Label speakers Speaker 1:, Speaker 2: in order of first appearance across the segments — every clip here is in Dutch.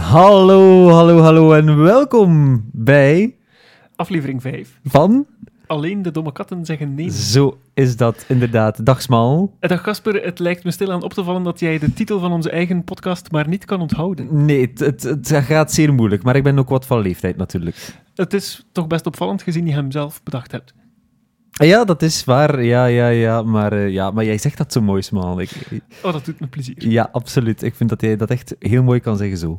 Speaker 1: Hallo, hallo, hallo en welkom bij
Speaker 2: Aflevering 5.
Speaker 1: Van.
Speaker 2: Alleen de domme katten zeggen nee.
Speaker 1: Zo is dat inderdaad. Dag Smal.
Speaker 2: Eh, Dag Casper, het lijkt me stilaan op te vallen dat jij de titel van onze eigen podcast maar niet kan onthouden.
Speaker 1: Nee, het, het, het gaat zeer moeilijk, maar ik ben ook wat van leeftijd natuurlijk.
Speaker 2: Het is toch best opvallend gezien je hem zelf bedacht hebt.
Speaker 1: Ja, dat is waar. Ja, ja, ja. Maar, eh, ja, maar jij zegt dat zo mooi, Smal. Ik,
Speaker 2: Oh, dat doet me plezier.
Speaker 1: ja, absoluut. Ik vind dat jij dat echt heel mooi kan zeggen zo.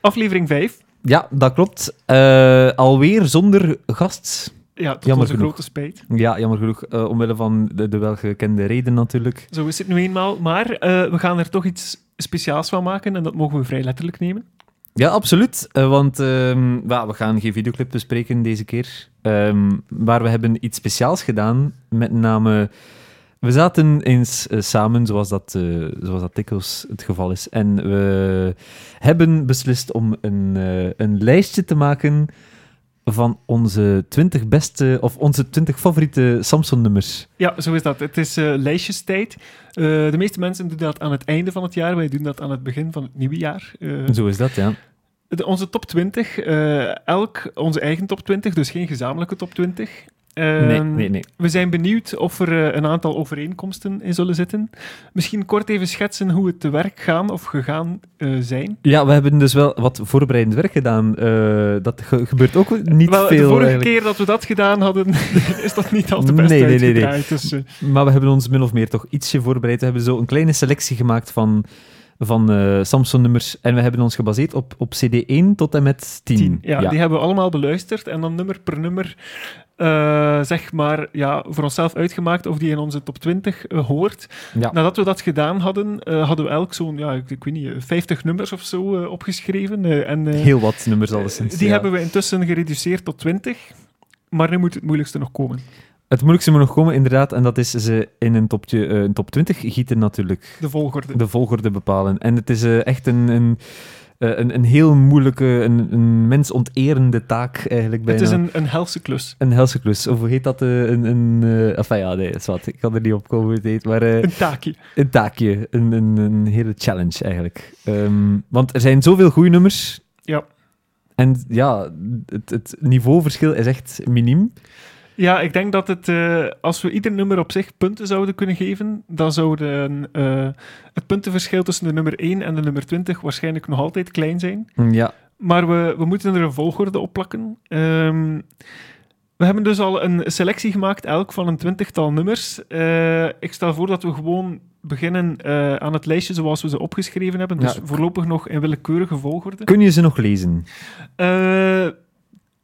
Speaker 2: Aflevering 5.
Speaker 1: Ja, dat klopt. Eh, alweer zonder gast.
Speaker 2: Ja, tot
Speaker 1: Jammer
Speaker 2: onze
Speaker 1: genoeg.
Speaker 2: grote spijt.
Speaker 1: Ja, jammer genoeg. eh, omwille van de, de welgekende reden natuurlijk.
Speaker 2: Zo is het nu eenmaal. Maar eh, we gaan er toch iets speciaals van maken en dat mogen we vrij letterlijk nemen.
Speaker 1: Ja, absoluut. Eh, want ehm, ja, we gaan geen videoclip bespreken deze keer. Ehm, maar we hebben iets speciaals gedaan. Met name, we zaten eens eh, samen, zoals dat, eh zoals dat dikwijls het geval is. En we hebben beslist om een, eh, een lijstje te maken van onze 20 beste, of onze 20 favoriete Samsung-nummers.
Speaker 2: Ja, zo is dat. Het is eh, lijstjestijd. Eh, de meeste mensen doen dat aan het einde van het jaar. Wij doen dat aan het begin van het nieuwe jaar. Eh,
Speaker 1: Zo is dat, ja.
Speaker 2: De- onze top 20, eh, elk onze eigen top 20, dus geen gezamenlijke top 20. Ehm,
Speaker 1: Nee, nee, nee.
Speaker 2: We zijn benieuwd of er eh, een aantal overeenkomsten in zullen zitten. Misschien kort even schetsen hoe het te werk gaan of gegaan eh, zijn.
Speaker 1: Ja, we hebben dus wel wat voorbereidend werk gedaan. Eh, dat ge- gebeurt ook niet
Speaker 2: Wel,
Speaker 1: veel
Speaker 2: de vorige
Speaker 1: eigenlijk.
Speaker 2: keer dat we dat gedaan hadden, is dat niet al te best
Speaker 1: Nee, nee, nee, nee.
Speaker 2: uitgedraaid, Dus, eh,
Speaker 1: Maar we hebben ons min of meer toch ietsje voorbereid. We hebben zo een kleine selectie gemaakt van, van eh, Samsung-nummers. En we hebben ons gebaseerd op, op CD1 tot en met 10.
Speaker 2: 10. Ja, die hebben we allemaal beluisterd en dan nummer per nummer, eh, zeg maar, ja, voor onszelf uitgemaakt of die in onze top 20 eh, hoort.
Speaker 1: Ja.
Speaker 2: Nadat we dat gedaan hadden, eh, hadden we elk zo'n, ja, ik, ik weet niet, eh, 50 nummers of zo eh, opgeschreven. eh, en, eh,
Speaker 1: Heel wat nummers alleszins.
Speaker 2: die
Speaker 1: ja.
Speaker 2: hebben we intussen gereduceerd tot 20. Maar nu moet het moeilijkste nog komen.
Speaker 1: Het moeilijkste moet nog komen, inderdaad. En dat is ze in een, topje, eh, een top 20 gieten natuurlijk.
Speaker 2: De volgorde.
Speaker 1: De volgorde bepalen. En het is eh, echt een... een eh, een, een heel moeilijke, een, een mensonterende taak eigenlijk bijna.
Speaker 2: het is een, een helse klus.
Speaker 1: een helse klus. Of hoe heet dat? eh, een, een, eh, enfin ja, nee, dat is wat. Ik kan er niet op komen hoe het heet. Maar, eh,
Speaker 2: Een taakje.
Speaker 1: Een taakje, een, een, een hele challenge eigenlijk. Ehm, want er zijn zoveel goede nummers.
Speaker 2: Ja.
Speaker 1: En ja, het, het niveauverschil is echt miniem.
Speaker 2: Ja, ik denk dat het, eh, als we ieder nummer op zich punten zouden kunnen geven, dan zouden eh, het puntenverschil tussen de nummer 1 en de nummer 20 waarschijnlijk nog altijd klein zijn.
Speaker 1: Ja,
Speaker 2: Maar we, we moeten er een volgorde op plakken. Ehm, we hebben dus al een selectie gemaakt, elk van een twintigtal nummers. Eh, ik stel voor dat we gewoon beginnen eh, aan het lijstje zoals we ze opgeschreven hebben. Dus
Speaker 1: Ja.
Speaker 2: voorlopig nog in willekeurige volgorde.
Speaker 1: kun je ze nog lezen?
Speaker 2: Eh,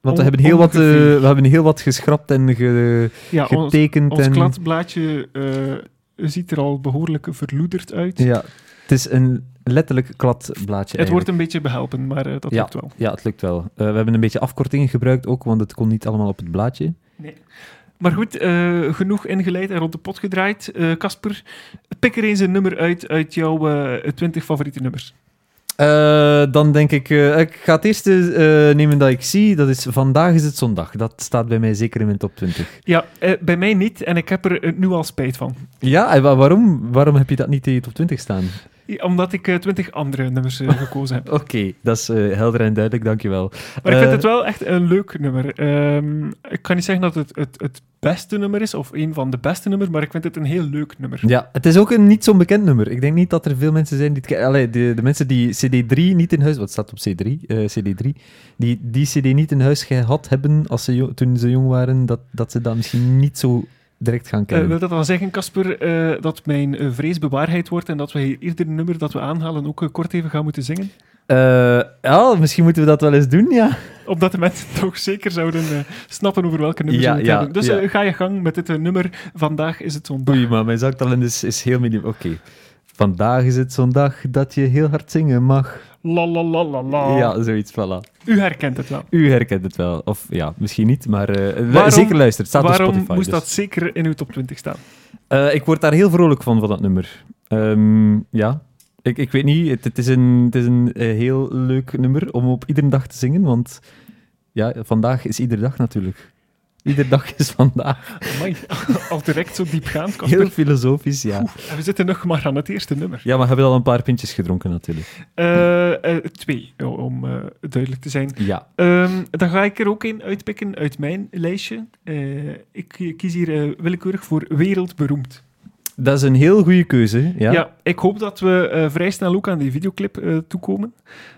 Speaker 1: Want we
Speaker 2: On-
Speaker 1: hebben, heel wat, eh,
Speaker 2: ongeveer.
Speaker 1: we hebben heel wat geschrapt en ge-
Speaker 2: ja, ons,
Speaker 1: getekend.
Speaker 2: ons
Speaker 1: en,
Speaker 2: kladblaadje eh, ziet er al behoorlijk verloederd uit.
Speaker 1: Ja, het is een letterlijk kladblaadje.
Speaker 2: Het wordt
Speaker 1: eigenlijk.
Speaker 2: een beetje behelpen, maar eh, dat
Speaker 1: Ja.
Speaker 2: lukt wel.
Speaker 1: Ja, het lukt wel. Eh, we hebben een beetje afkortingen gebruikt ook, want het kon niet allemaal op het blaadje.
Speaker 2: Maar goed, eh, genoeg ingeleid en rond de pot gedraaid. Eh, Casper, pik er eens een nummer uit uit jouw eh 20 favoriete nummers.
Speaker 1: Eh, dan denk ik, eh, ik ga het eerste eh, nemen dat ik zie. Dat is Vandaag is het zondag. Dat staat bij mij zeker in mijn top 20.
Speaker 2: Ja, eh, bij mij niet en ik heb er eh, nu al spijt van.
Speaker 1: Ja, en wa- waarom, waarom heb je dat niet in je top 20 staan?
Speaker 2: Ja, Omdat ik eh, twintig andere nummers eh, gekozen heb.
Speaker 1: Oké, dat is eh, helder en duidelijk, dankjewel.
Speaker 2: Maar
Speaker 1: Eh,
Speaker 2: ik vind het wel echt een leuk nummer. Ehm, ik kan niet zeggen dat het, het het beste nummer is, of een van de beste nummers, maar ik vind het een heel leuk nummer.
Speaker 1: Ja, het is ook een niet zo'n bekend nummer. Ik denk niet dat er veel mensen zijn die het kennen. Allee, de, de mensen die CD3 niet in huis... Wat staat op C3? Eh, CD3. Die die CD niet in huis gehad hebben als ze jo- toen ze jong waren, dat, dat ze dat misschien niet zo direct gaan
Speaker 2: Eh,
Speaker 1: kennen.
Speaker 2: wil dat dan zeggen, Casper, eh, dat mijn eh, vrees bewaarheid wordt en dat we hier ieder nummer dat we aanhalen ook eh, kort even gaan moeten zingen?
Speaker 1: Eh, ja, misschien moeten we dat wel eens doen, ja.
Speaker 2: Opdat de mensen toch zeker zouden eh, snappen over welke nummers
Speaker 1: Ja,
Speaker 2: we het
Speaker 1: ja,
Speaker 2: hebben. Dus
Speaker 1: ja.
Speaker 2: eh, ga je gang met dit eh, nummer. Vandaag is het zo'n
Speaker 1: Oei, maar mijn zaktalent is, is heel minim. Oké. Vandaag is het zo'n dag dat je heel hard zingen mag.
Speaker 2: la la la la la.
Speaker 1: Ja, zoiets, voilà.
Speaker 2: U herkent het wel.
Speaker 1: U herkent het wel. Of ja, misschien niet, maar eh, lu-
Speaker 2: Waarom-
Speaker 1: zeker luister. Het staat
Speaker 2: Waarom
Speaker 1: op Spotify.
Speaker 2: moest
Speaker 1: dus.
Speaker 2: dat zeker in uw top 20 staan?
Speaker 1: Eh, ik word daar heel vrolijk van, van dat nummer. Ehm, ja. Ik, ik weet niet, het, het is een, het is een eh, heel leuk nummer om op iedere dag te zingen, want ja, vandaag is iedere dag natuurlijk. Iedere dag is vandaag.
Speaker 2: Amai, al direct zo diepgaand, Casper.
Speaker 1: Heel filosofisch, ja.
Speaker 2: En we zitten nog maar aan het eerste nummer.
Speaker 1: Ja, maar hebben al een paar pintjes gedronken natuurlijk.
Speaker 2: Eh, eh, twee, o- om eh, duidelijk te zijn.
Speaker 1: Ja.
Speaker 2: Ehm, dan ga ik er ook een uitpikken uit mijn lijstje. Eh, ik kies hier eh, willekeurig voor wereldberoemd.
Speaker 1: Dat is een heel goede keuze. Ja.
Speaker 2: Ja. ik hoop dat we eh, vrij snel ook aan die videoclip eh, toekomen.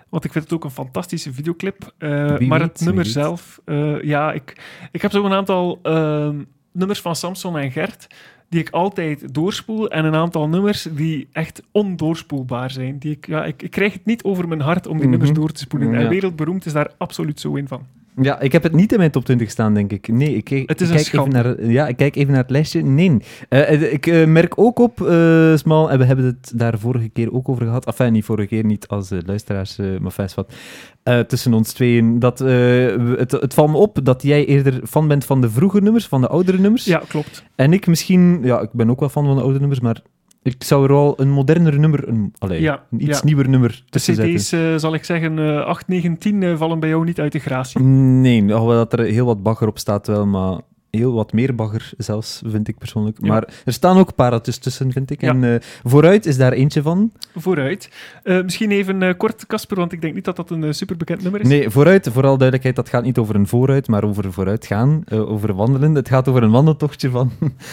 Speaker 2: Want ik vind het ook een fantastische videoclip. Eh,
Speaker 1: Wie
Speaker 2: maar
Speaker 1: weet,
Speaker 2: het nummer
Speaker 1: wie weet.
Speaker 2: zelf... eh, ja, ik, ik heb zo'n aantal ehm, nummers van Samson en Gert die ik altijd doorspoel. En een aantal nummers die echt ondoorspoelbaar zijn. Die ik, ja, ik, ik krijg het niet over mijn hart om die
Speaker 1: Mhm.
Speaker 2: nummers door te spoelen. En
Speaker 1: Ja.
Speaker 2: wereldberoemd is daar absoluut zo een van.
Speaker 1: Ja, ik heb het niet in mijn top 20 staan, denk ik. Nee, ik, kijk-
Speaker 2: Het is
Speaker 1: ik
Speaker 2: een
Speaker 1: kijk even
Speaker 2: schande.
Speaker 1: naar, ja, ik kijk even naar het lijstje. Nee. Eh, eh, ik eh, merk ook op, eh Smal, en we hebben het daar vorige keer ook over gehad. Enfin, niet vorige keer, niet als eh, luisteraars, eh, maar fijn wat. Eh, tussen ons tweeën. Dat, eh, we- het, het valt me op dat jij eerder fan bent van de vroege nummers, van de oudere nummers.
Speaker 2: Ja, klopt.
Speaker 1: En ik misschien, ja, ik ben ook wel fan van de oude nummers, maar ik zou er wel een moderner nummer, een, allee,
Speaker 2: Ja,
Speaker 1: een iets
Speaker 2: ja.
Speaker 1: nieuwer nummer
Speaker 2: De
Speaker 1: tussen zetten.
Speaker 2: cd's, eh, zal ik zeggen, eh 8, 9, 10 eh, vallen bij jou niet uit de gratie.
Speaker 1: Nee, alhoewel dat er heel wat bagger op staat wel, maar heel wat meer bagger zelfs, vind ik persoonlijk.
Speaker 2: Ja.
Speaker 1: Maar er staan ook paratjes tussen, vind ik.
Speaker 2: Ja.
Speaker 1: En eh, vooruit is daar eentje van.
Speaker 2: Vooruit. Eh, misschien even eh, kort, Casper, want ik denk niet dat dat een eh, superbekend nummer is.
Speaker 1: Nee, vooruit, vooral duidelijkheid, dat gaat niet over een vooruit, maar over vooruit gaan, eh, over wandelen. Het gaat over een wandeltochtje van,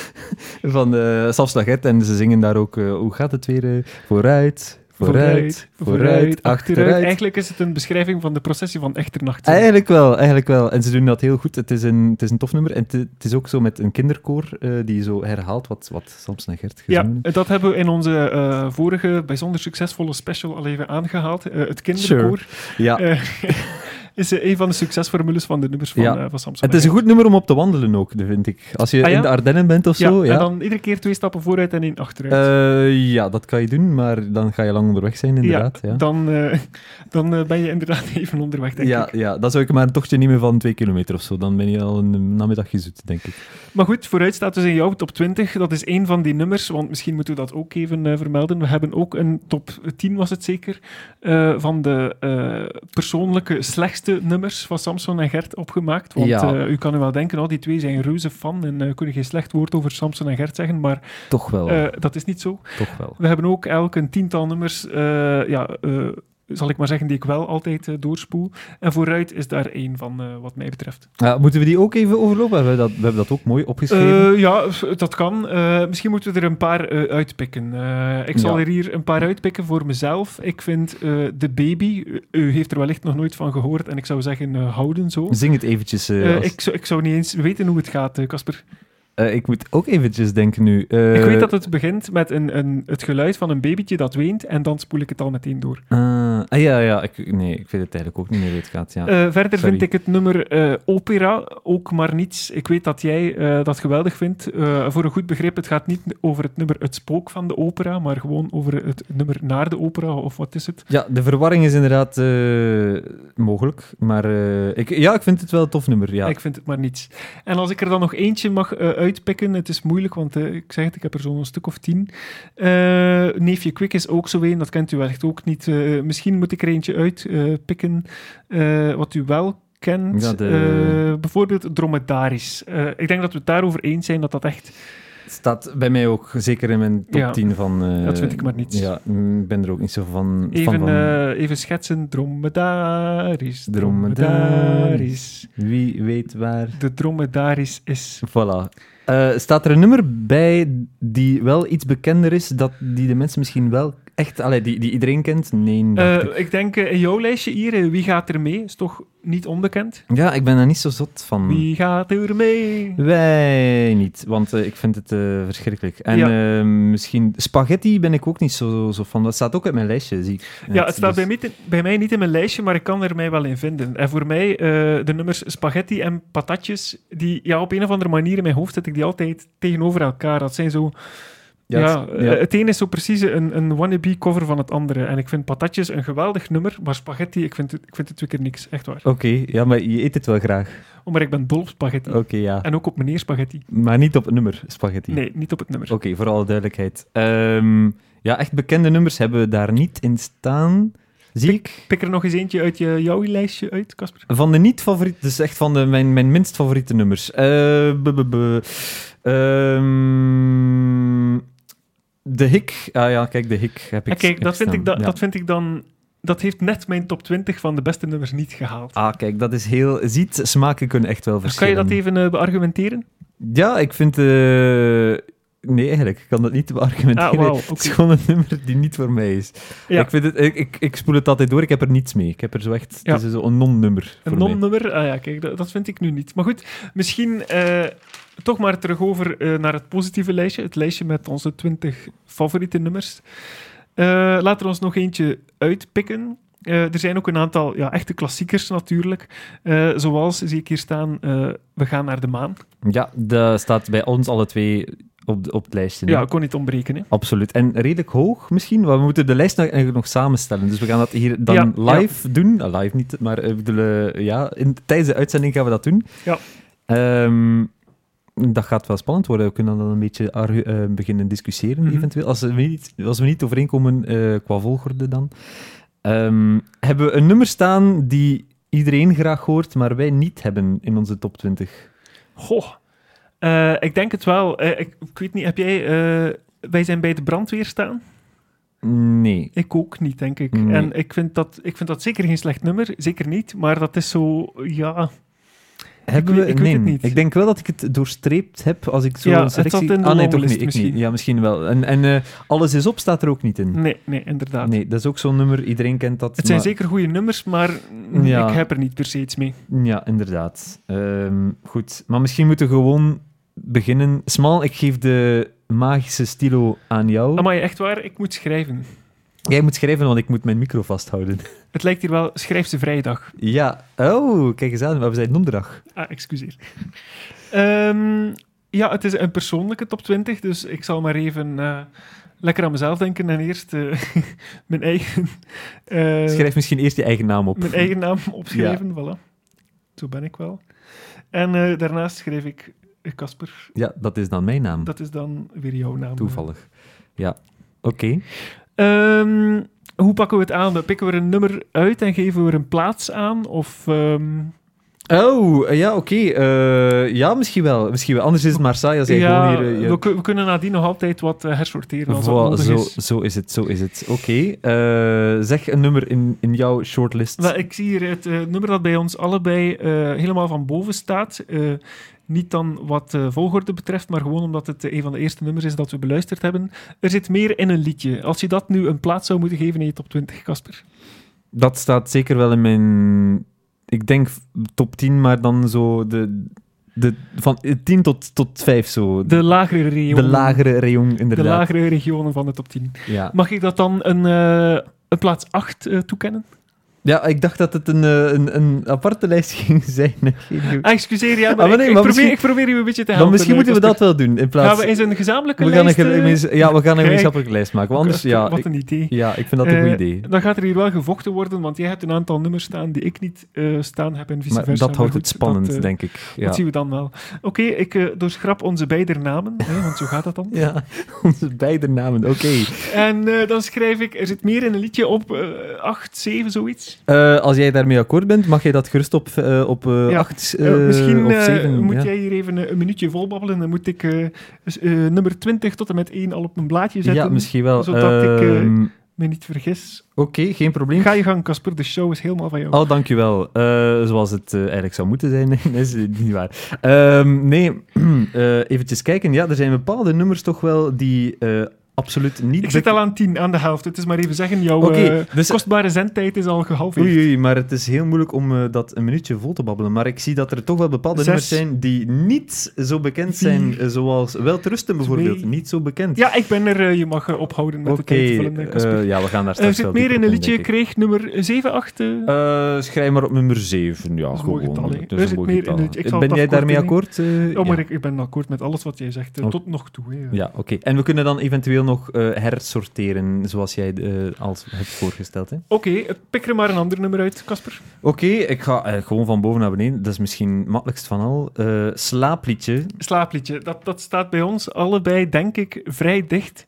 Speaker 1: van eh Saf Slaget en ze zingen daar ook, eh, hoe gaat het weer? eh, vooruit, vooruit, vooruit, achteruit. Ah,
Speaker 2: Eigenlijk is het een beschrijving van de processie van Echternacht.
Speaker 1: Eigenlijk wel, eigenlijk wel. En ze doen dat heel goed. Het is een, het is een tof nummer. En het, het is ook zo met een kinderkoor eh, die zo herhaalt wat, wat Samson en Gert gezongen
Speaker 2: Ja,
Speaker 1: hebben.
Speaker 2: dat hebben we in onze eh, vorige bijzonder succesvolle special al even aangehaald. Eh, het kinderkoor
Speaker 1: Ja.
Speaker 2: eh, is eh, een van de succesformules van de nummers van,
Speaker 1: Ja.
Speaker 2: eh, van Samsung.
Speaker 1: Het is een goed nummer om op te wandelen ook, dat vind ik. Als je
Speaker 2: Ah, ja?
Speaker 1: in de Ardennen bent of zo, ja.
Speaker 2: En dan iedere keer twee stappen vooruit en één achteruit.
Speaker 1: Eh, ja, dat kan je doen, maar dan ga je lang onderweg zijn, inderdaad. Ja, ja.
Speaker 2: Dan, eh, dan eh, ben je inderdaad even onderweg, denk
Speaker 1: ja,
Speaker 2: ik.
Speaker 1: dan zou ik maar een tochtje nemen van twee kilometer of zo. Dan ben je al een namiddagje zoet, denk ik.
Speaker 2: Maar goed, vooruit staat dus in jouw top 20. Dat is één van die nummers, want misschien moeten we dat ook even eh, vermelden. We hebben ook een top 10, was het zeker, eh, van de eh, persoonlijke slechtste nummers van Samson en Gert opgemaakt. Want
Speaker 1: Ja.
Speaker 2: eh, u kan nu wel denken, oh, die twee zijn reuze fan en eh, kunnen geen slecht woord over Samson en Gert zeggen, maar
Speaker 1: Toch wel,
Speaker 2: eh, dat is niet zo.
Speaker 1: toch wel.
Speaker 2: We hebben ook elk een tiental nummers, eh, ja, eh, zal ik maar zeggen, die ik wel altijd eh, doorspoel. En vooruit is daar één van, eh, wat mij betreft.
Speaker 1: Ja, moeten we die ook even overlopen? We hebben dat, we hebben dat ook mooi opgeschreven.
Speaker 2: Eh, ja, f- dat kan. Eh, misschien moeten we er een paar eh, uitpikken. Eh, ik zal
Speaker 1: Ja.
Speaker 2: er hier een paar uitpikken voor mezelf. Ik vind eh De Baby, eh, u- u heeft er wellicht nog nooit van gehoord en ik zou zeggen, eh, houden zo.
Speaker 1: Zing het eventjes. eh,
Speaker 2: Eh,
Speaker 1: als-
Speaker 2: ik, zou, ik zou niet eens weten hoe het gaat, eh, Casper.
Speaker 1: Eh, ik moet ook eventjes denken nu. Eh,
Speaker 2: ik weet dat het begint met een, een, het geluid van een babytje dat weent en dan spoel ik het al meteen door.
Speaker 1: ah, ah, ja, ja. Ik, nee, ik weet het eigenlijk ook niet meer hoe het gaat. Ja.
Speaker 2: Eh, verder
Speaker 1: Sorry.
Speaker 2: vind ik het nummer eh, Opera ook maar niets. Ik weet dat jij eh, dat geweldig vindt. Eh, voor een goed begrip, het gaat niet over het nummer Het Spook van de opera, maar gewoon over het nummer Naar de opera, of wat is het?
Speaker 1: ja, de verwarring is inderdaad eh, mogelijk. Maar eh, ik, ja, ik vind het wel een tof nummer. Ja.
Speaker 2: Ik vind het maar niets. En als ik er dan nog eentje mag eh, uitpikken, het is moeilijk, want eh, ik zeg het, ik heb er zo'n stuk of tien. Eh, Neefje Kwik is ook zo een, dat kent u wellicht ook niet. Eh, misschien moet ik er eentje uitpikken eh, wat u wel kent.
Speaker 1: Ja, de-
Speaker 2: Eh, bijvoorbeeld Dromedaris. Eh, ik denk dat we het daarover eens zijn dat dat echt
Speaker 1: Het staat bij mij ook zeker in mijn top
Speaker 2: Ja.
Speaker 1: 10 van... eh,
Speaker 2: Dat vind ik maar niets.
Speaker 1: Ja, mm, ik ben er ook niet zo van.
Speaker 2: Even,
Speaker 1: fan van
Speaker 2: eh, even schetsen. Dromedaris.
Speaker 1: Dromedaris.
Speaker 2: Dromedaris.
Speaker 1: Wie weet waar.
Speaker 2: De dromedaris is.
Speaker 1: Voilà. Eh, staat er een nummer bij die wel iets bekender is, dat die de mensen misschien wel echt... Allee, die, die iedereen kent? Nee, dacht ik.
Speaker 2: Eh, ik denk eh, in jouw lijstje hier, eh, wie gaat er mee? Is toch niet onbekend?
Speaker 1: Ja, ik ben daar niet zo zot van.
Speaker 2: Wie gaat er mee?
Speaker 1: Wij niet, want eh, ik vind het eh, verschrikkelijk. En
Speaker 2: Ja.
Speaker 1: eh, misschien... Spaghetti ben ik ook niet zo, zo van. Dat staat ook in mijn lijstje, zie ik.
Speaker 2: Ja, het staat
Speaker 1: dus-
Speaker 2: bij mij, niet- bij mij niet in mijn lijstje, maar ik kan er mij wel in vinden. En voor mij, eh, de nummers spaghetti en patatjes, die, ja, op een of andere manier in mijn hoofd zet ik die altijd tegenover elkaar. Dat zijn zo Ja,
Speaker 1: Ja, het-
Speaker 2: eh,
Speaker 1: ja.
Speaker 2: het een is zo precies een, een wannabe cover van het andere. En ik vind patatjes een geweldig nummer, maar spaghetti, ik vind het, ik vind het twee keer niks. Echt waar.
Speaker 1: Oké, ja, maar je eet het wel graag.
Speaker 2: Oh, maar ik ben dol op spaghetti.
Speaker 1: Oké, ja.
Speaker 2: En ook op meneer spaghetti.
Speaker 1: Maar niet op het nummer, spaghetti.
Speaker 2: Nee, niet op het nummer.
Speaker 1: Oké, voor alle duidelijkheid. Ehm, ja, echt bekende nummers hebben we daar niet in staan. Zie ik
Speaker 2: Pik er nog eens eentje uit je, jouw lijstje uit, Casper.
Speaker 1: van de niet-favoriete, dus echt van de, mijn, mijn minst favoriete nummers. Eh, b- b- b- ehm, de Hik. Ah ja, kijk, de Hik heb ik.
Speaker 2: Ah, kijk,
Speaker 1: heb
Speaker 2: dat vind,
Speaker 1: staan,
Speaker 2: ik da-
Speaker 1: ja.
Speaker 2: dat vind ik dan... Dat heeft net mijn top 20 van de beste nummers niet gehaald.
Speaker 1: Ah, kijk, dat is heel... Ziet, smaken kunnen echt wel
Speaker 2: Dus kan je
Speaker 1: verschillen.
Speaker 2: dat even eh, beargumenteren?
Speaker 1: Ja, ik vind... eh, Nee, eigenlijk. Ik kan dat niet beargumenteren.
Speaker 2: Ah, wauw,
Speaker 1: Het is
Speaker 2: oké.
Speaker 1: gewoon een nummer die niet voor mij is.
Speaker 2: Ja.
Speaker 1: Ik, vind het, ik, ik, ik spoel het altijd door. Ik heb er niets mee. Ik heb er zo echt...
Speaker 2: Ja.
Speaker 1: Het is zo'n non-nummer voor
Speaker 2: Een
Speaker 1: mij.
Speaker 2: non-nummer? Ah ja, kijk, dat, dat vind ik nu niet. Maar goed, misschien eh, toch maar terug over eh, naar het positieve lijstje. Het lijstje met onze 20 favoriete nummers. Eh, laten we ons nog eentje uitpikken. Eh, er zijn ook een aantal ja, echte klassiekers natuurlijk. Eh, zoals, zie ik hier staan, eh, We gaan naar de maan.
Speaker 1: Ja, dat staat bij ons alle twee op, de- op het lijstje. hè?
Speaker 2: Ja, kon niet ontbreken. Hè?
Speaker 1: Absoluut. En redelijk hoog misschien, want we moeten de lijst nog, eigenlijk nog samenstellen. Dus we gaan dat hier dan
Speaker 2: Ja, ja.
Speaker 1: live doen. Nou, live niet, maar eh, ik bedoel, eh, ja, in, tijdens de uitzending gaan we dat doen.
Speaker 2: Ja.
Speaker 1: Ehm, dat gaat wel spannend worden. We kunnen dan een beetje argu- eh, beginnen discussiëren,
Speaker 2: Mhm.
Speaker 1: eventueel. Als we niet, als we niet overeenkomen eh, qua volgorde dan. Ehm, hebben we een nummer staan die iedereen graag hoort, maar wij niet hebben in onze top 20?
Speaker 2: Goh, Eh, ik denk het wel. Eh, ik, ik weet niet, heb jij... eh, wij zijn bij de brandweer staan.
Speaker 1: Nee.
Speaker 2: Ik ook niet, denk ik.
Speaker 1: Nee.
Speaker 2: En ik vind, dat, ik vind dat zeker geen slecht nummer, zeker niet. Maar dat is zo, ja...
Speaker 1: Hebben
Speaker 2: weet-
Speaker 1: we?
Speaker 2: ik weet
Speaker 1: nee,
Speaker 2: het niet.
Speaker 1: Ik denk wel dat ik het doorstreept heb als ik zo
Speaker 2: Ja,
Speaker 1: een
Speaker 2: het
Speaker 1: selectie...
Speaker 2: zat in de
Speaker 1: ah, nee, toch
Speaker 2: longlist
Speaker 1: niet. Ik
Speaker 2: misschien.
Speaker 1: niet. Ja, misschien wel. En, en eh, Alles is op staat er ook niet in.
Speaker 2: Nee, nee, inderdaad.
Speaker 1: Nee, dat is ook zo'n nummer. Iedereen kent dat.
Speaker 2: Het zijn
Speaker 1: maar-
Speaker 2: zeker goede nummers, maar mm,
Speaker 1: Ja.
Speaker 2: ik heb er niet per se iets mee.
Speaker 1: Ja, inderdaad. Ehm, goed. Maar misschien moeten we gewoon beginnen. Smal, ik geef de magische stilo aan jou.
Speaker 2: Amai, echt waar, ik moet schrijven.
Speaker 1: Jij moet schrijven, want ik moet mijn micro vasthouden.
Speaker 2: Het lijkt hier wel Schrijfse Vrijdag.
Speaker 1: ja. Oh, kijk eens aan. maar We zijn donderdag.
Speaker 2: Ah, excuseer. Ehm, ja, het is een persoonlijke top 20, dus ik zal maar even eh, lekker aan mezelf denken. En eerst eh, mijn eigen... eh,
Speaker 1: Schrijf misschien eerst je eigen naam op.
Speaker 2: Mijn eigen naam opschrijven, voilà. Zo ben ik wel. En eh, daarnaast schreef ik eh, Casper.
Speaker 1: Ja, dat is dan mijn naam.
Speaker 2: Dat is dan weer jouw naam.
Speaker 1: Hm.
Speaker 2: eh.
Speaker 1: Toevallig. Ja. Oké.
Speaker 2: Ehm, hoe pakken we het aan? Pikken we een nummer uit en geven we er een plaats aan? Of ehm,
Speaker 1: Oh, eh, ja, oké. Eh, ja, misschien wel. misschien wel. Anders is het maar saai als jij
Speaker 2: ja,
Speaker 1: gewoon hier... eh, je-
Speaker 2: we, kun- we kunnen nadien nog altijd wat eh, hersorteren als dat
Speaker 1: Voilà,
Speaker 2: nodig
Speaker 1: zo,
Speaker 2: is.
Speaker 1: zo is het, zo is het. Oké, eh, zeg een nummer in, in jouw shortlist.
Speaker 2: Wel, ik zie hier het eh, nummer dat bij ons allebei eh, helemaal van boven staat. Eh, niet dan wat eh, volgorde betreft, maar gewoon omdat het eh, een van de eerste nummers is dat we beluisterd hebben. Er zit meer in een liedje. Als je dat nu een plaats zou moeten geven in je top 20, Casper.
Speaker 1: Dat staat zeker wel in mijn... Ik denk top 10, maar dan zo de... de van eh, 10 tot, tot 5 zo.
Speaker 2: De lagere regionen.
Speaker 1: de lagere reong,
Speaker 2: de
Speaker 1: inderdaad.
Speaker 2: lagere regionen van de top 10.
Speaker 1: ja.
Speaker 2: Mag ik dat dan een, eh, een plaats 8 eh, toekennen?
Speaker 1: ja, ik dacht dat het een, eh, een, een aparte lijst ging zijn. Geen idee.
Speaker 2: Ah, excuseer, ja, maar,
Speaker 1: Ah, maar
Speaker 2: ik-
Speaker 1: nee,
Speaker 2: ik,
Speaker 1: maar
Speaker 2: probeer,
Speaker 1: misschien-
Speaker 2: ik probeer u een beetje te helpen.
Speaker 1: Dan misschien
Speaker 2: eh,
Speaker 1: moeten we dat
Speaker 2: Casper.
Speaker 1: wel doen, in plaats...
Speaker 2: Gaan we eens een gezamenlijke
Speaker 1: we gaan een,
Speaker 2: lijst... eh,
Speaker 1: geme- ja, we gaan een
Speaker 2: Kijk.
Speaker 1: gemeenschappelijke lijst maken. want Anders, ja,
Speaker 2: Wat
Speaker 1: ik-
Speaker 2: een idee.
Speaker 1: Ja, ik vind dat een
Speaker 2: Eh,
Speaker 1: goed idee.
Speaker 2: Dan gaat er hier wel gevochten worden, want jij hebt een aantal nummers staan die ik niet eh, staan heb en vice
Speaker 1: Maar
Speaker 2: versa.
Speaker 1: dat houdt
Speaker 2: goed,
Speaker 1: het spannend,
Speaker 2: dat, eh,
Speaker 1: denk ik. Ja.
Speaker 2: Dat zien we dan wel. Oké, ik eh, doorschrap onze beide namen, hè, want zo gaat dat dan.
Speaker 1: ja, onze beide namen, oké.
Speaker 2: En eh, dan schrijf ik, er zit meer in een liedje op, eh 8, 7, zoiets.
Speaker 1: Eh, als jij daarmee akkoord bent, mag jij dat gerust op 8 op, eh,
Speaker 2: Ja.
Speaker 1: acht,
Speaker 2: Eh,
Speaker 1: eh,
Speaker 2: misschien
Speaker 1: op
Speaker 2: eh,
Speaker 1: zeven,
Speaker 2: moet
Speaker 1: ja.
Speaker 2: jij hier even eh, een minuutje volbabbelen. Dan moet ik eh, s- eh, nummer 20 tot en met 1 al op mijn blaadje zetten.
Speaker 1: Ja, misschien wel.
Speaker 2: zodat ik, eh,
Speaker 1: Ehm,
Speaker 2: Me niet vergis.
Speaker 1: Oké, geen probleem.
Speaker 2: Ga je gang, Casper. De show is helemaal van jou.
Speaker 1: Oh, dankjewel. Eh, zoals het eh, eigenlijk zou moeten zijn. Nee, is het niet waar. Ehm, nee, Even eventjes kijken. Ja, er zijn bepaalde nummers toch wel die eh, absoluut niet...
Speaker 2: ik zit al aan 10, aan de helft. Het is maar even zeggen, jouw
Speaker 1: Oké,
Speaker 2: eh,
Speaker 1: dus-
Speaker 2: kostbare zendtijd is al gehalveerd.
Speaker 1: Oei, oei, maar het is heel moeilijk om eh, dat een minuutje vol te babbelen. Maar ik zie dat er toch wel bepaalde
Speaker 2: Zes.
Speaker 1: nummers zijn die niet zo bekend zijn, eh, zoals Welterusten bijvoorbeeld.
Speaker 2: Twee.
Speaker 1: Niet zo bekend.
Speaker 2: Ja, ik ben er. eh, je mag eh, ophouden met
Speaker 1: Oké,
Speaker 2: de tijd vullen, eh, Casper.
Speaker 1: eh, ja, we gaan daar straks
Speaker 2: er zit
Speaker 1: wel
Speaker 2: meer
Speaker 1: dieper
Speaker 2: in een
Speaker 1: op
Speaker 2: liedje.
Speaker 1: denk ik.
Speaker 2: Kreeg nummer 7, 8. eh,
Speaker 1: Eh, schrijf maar op nummer 7. Ja,
Speaker 2: Dat is een mooi
Speaker 1: gewoon.
Speaker 2: getal, hè.
Speaker 1: het
Speaker 2: Er
Speaker 1: is
Speaker 2: zit
Speaker 1: een mooi
Speaker 2: meer in
Speaker 1: getal.
Speaker 2: het- ik zal
Speaker 1: ben
Speaker 2: het
Speaker 1: jij daarmee akkoord?
Speaker 2: afkorten,
Speaker 1: eh?
Speaker 2: oh, maar
Speaker 1: ja.
Speaker 2: ik, ik ben akkoord met alles wat jij zegt. eh,
Speaker 1: Oh.
Speaker 2: Tot nog toe. hè.
Speaker 1: Ja, oké. En we kunnen dan eventueel nog eh, hersorteren, zoals jij eh, al hebt voorgesteld. Hè?
Speaker 2: Oké, eh, pik er maar een ander nummer uit, Casper.
Speaker 1: Oké, ik ga eh, gewoon van boven naar beneden. Dat is misschien het makkelijkst van al. Eh, slaapliedje.
Speaker 2: Slaapliedje. Dat, dat staat bij ons allebei, denk ik, vrij dicht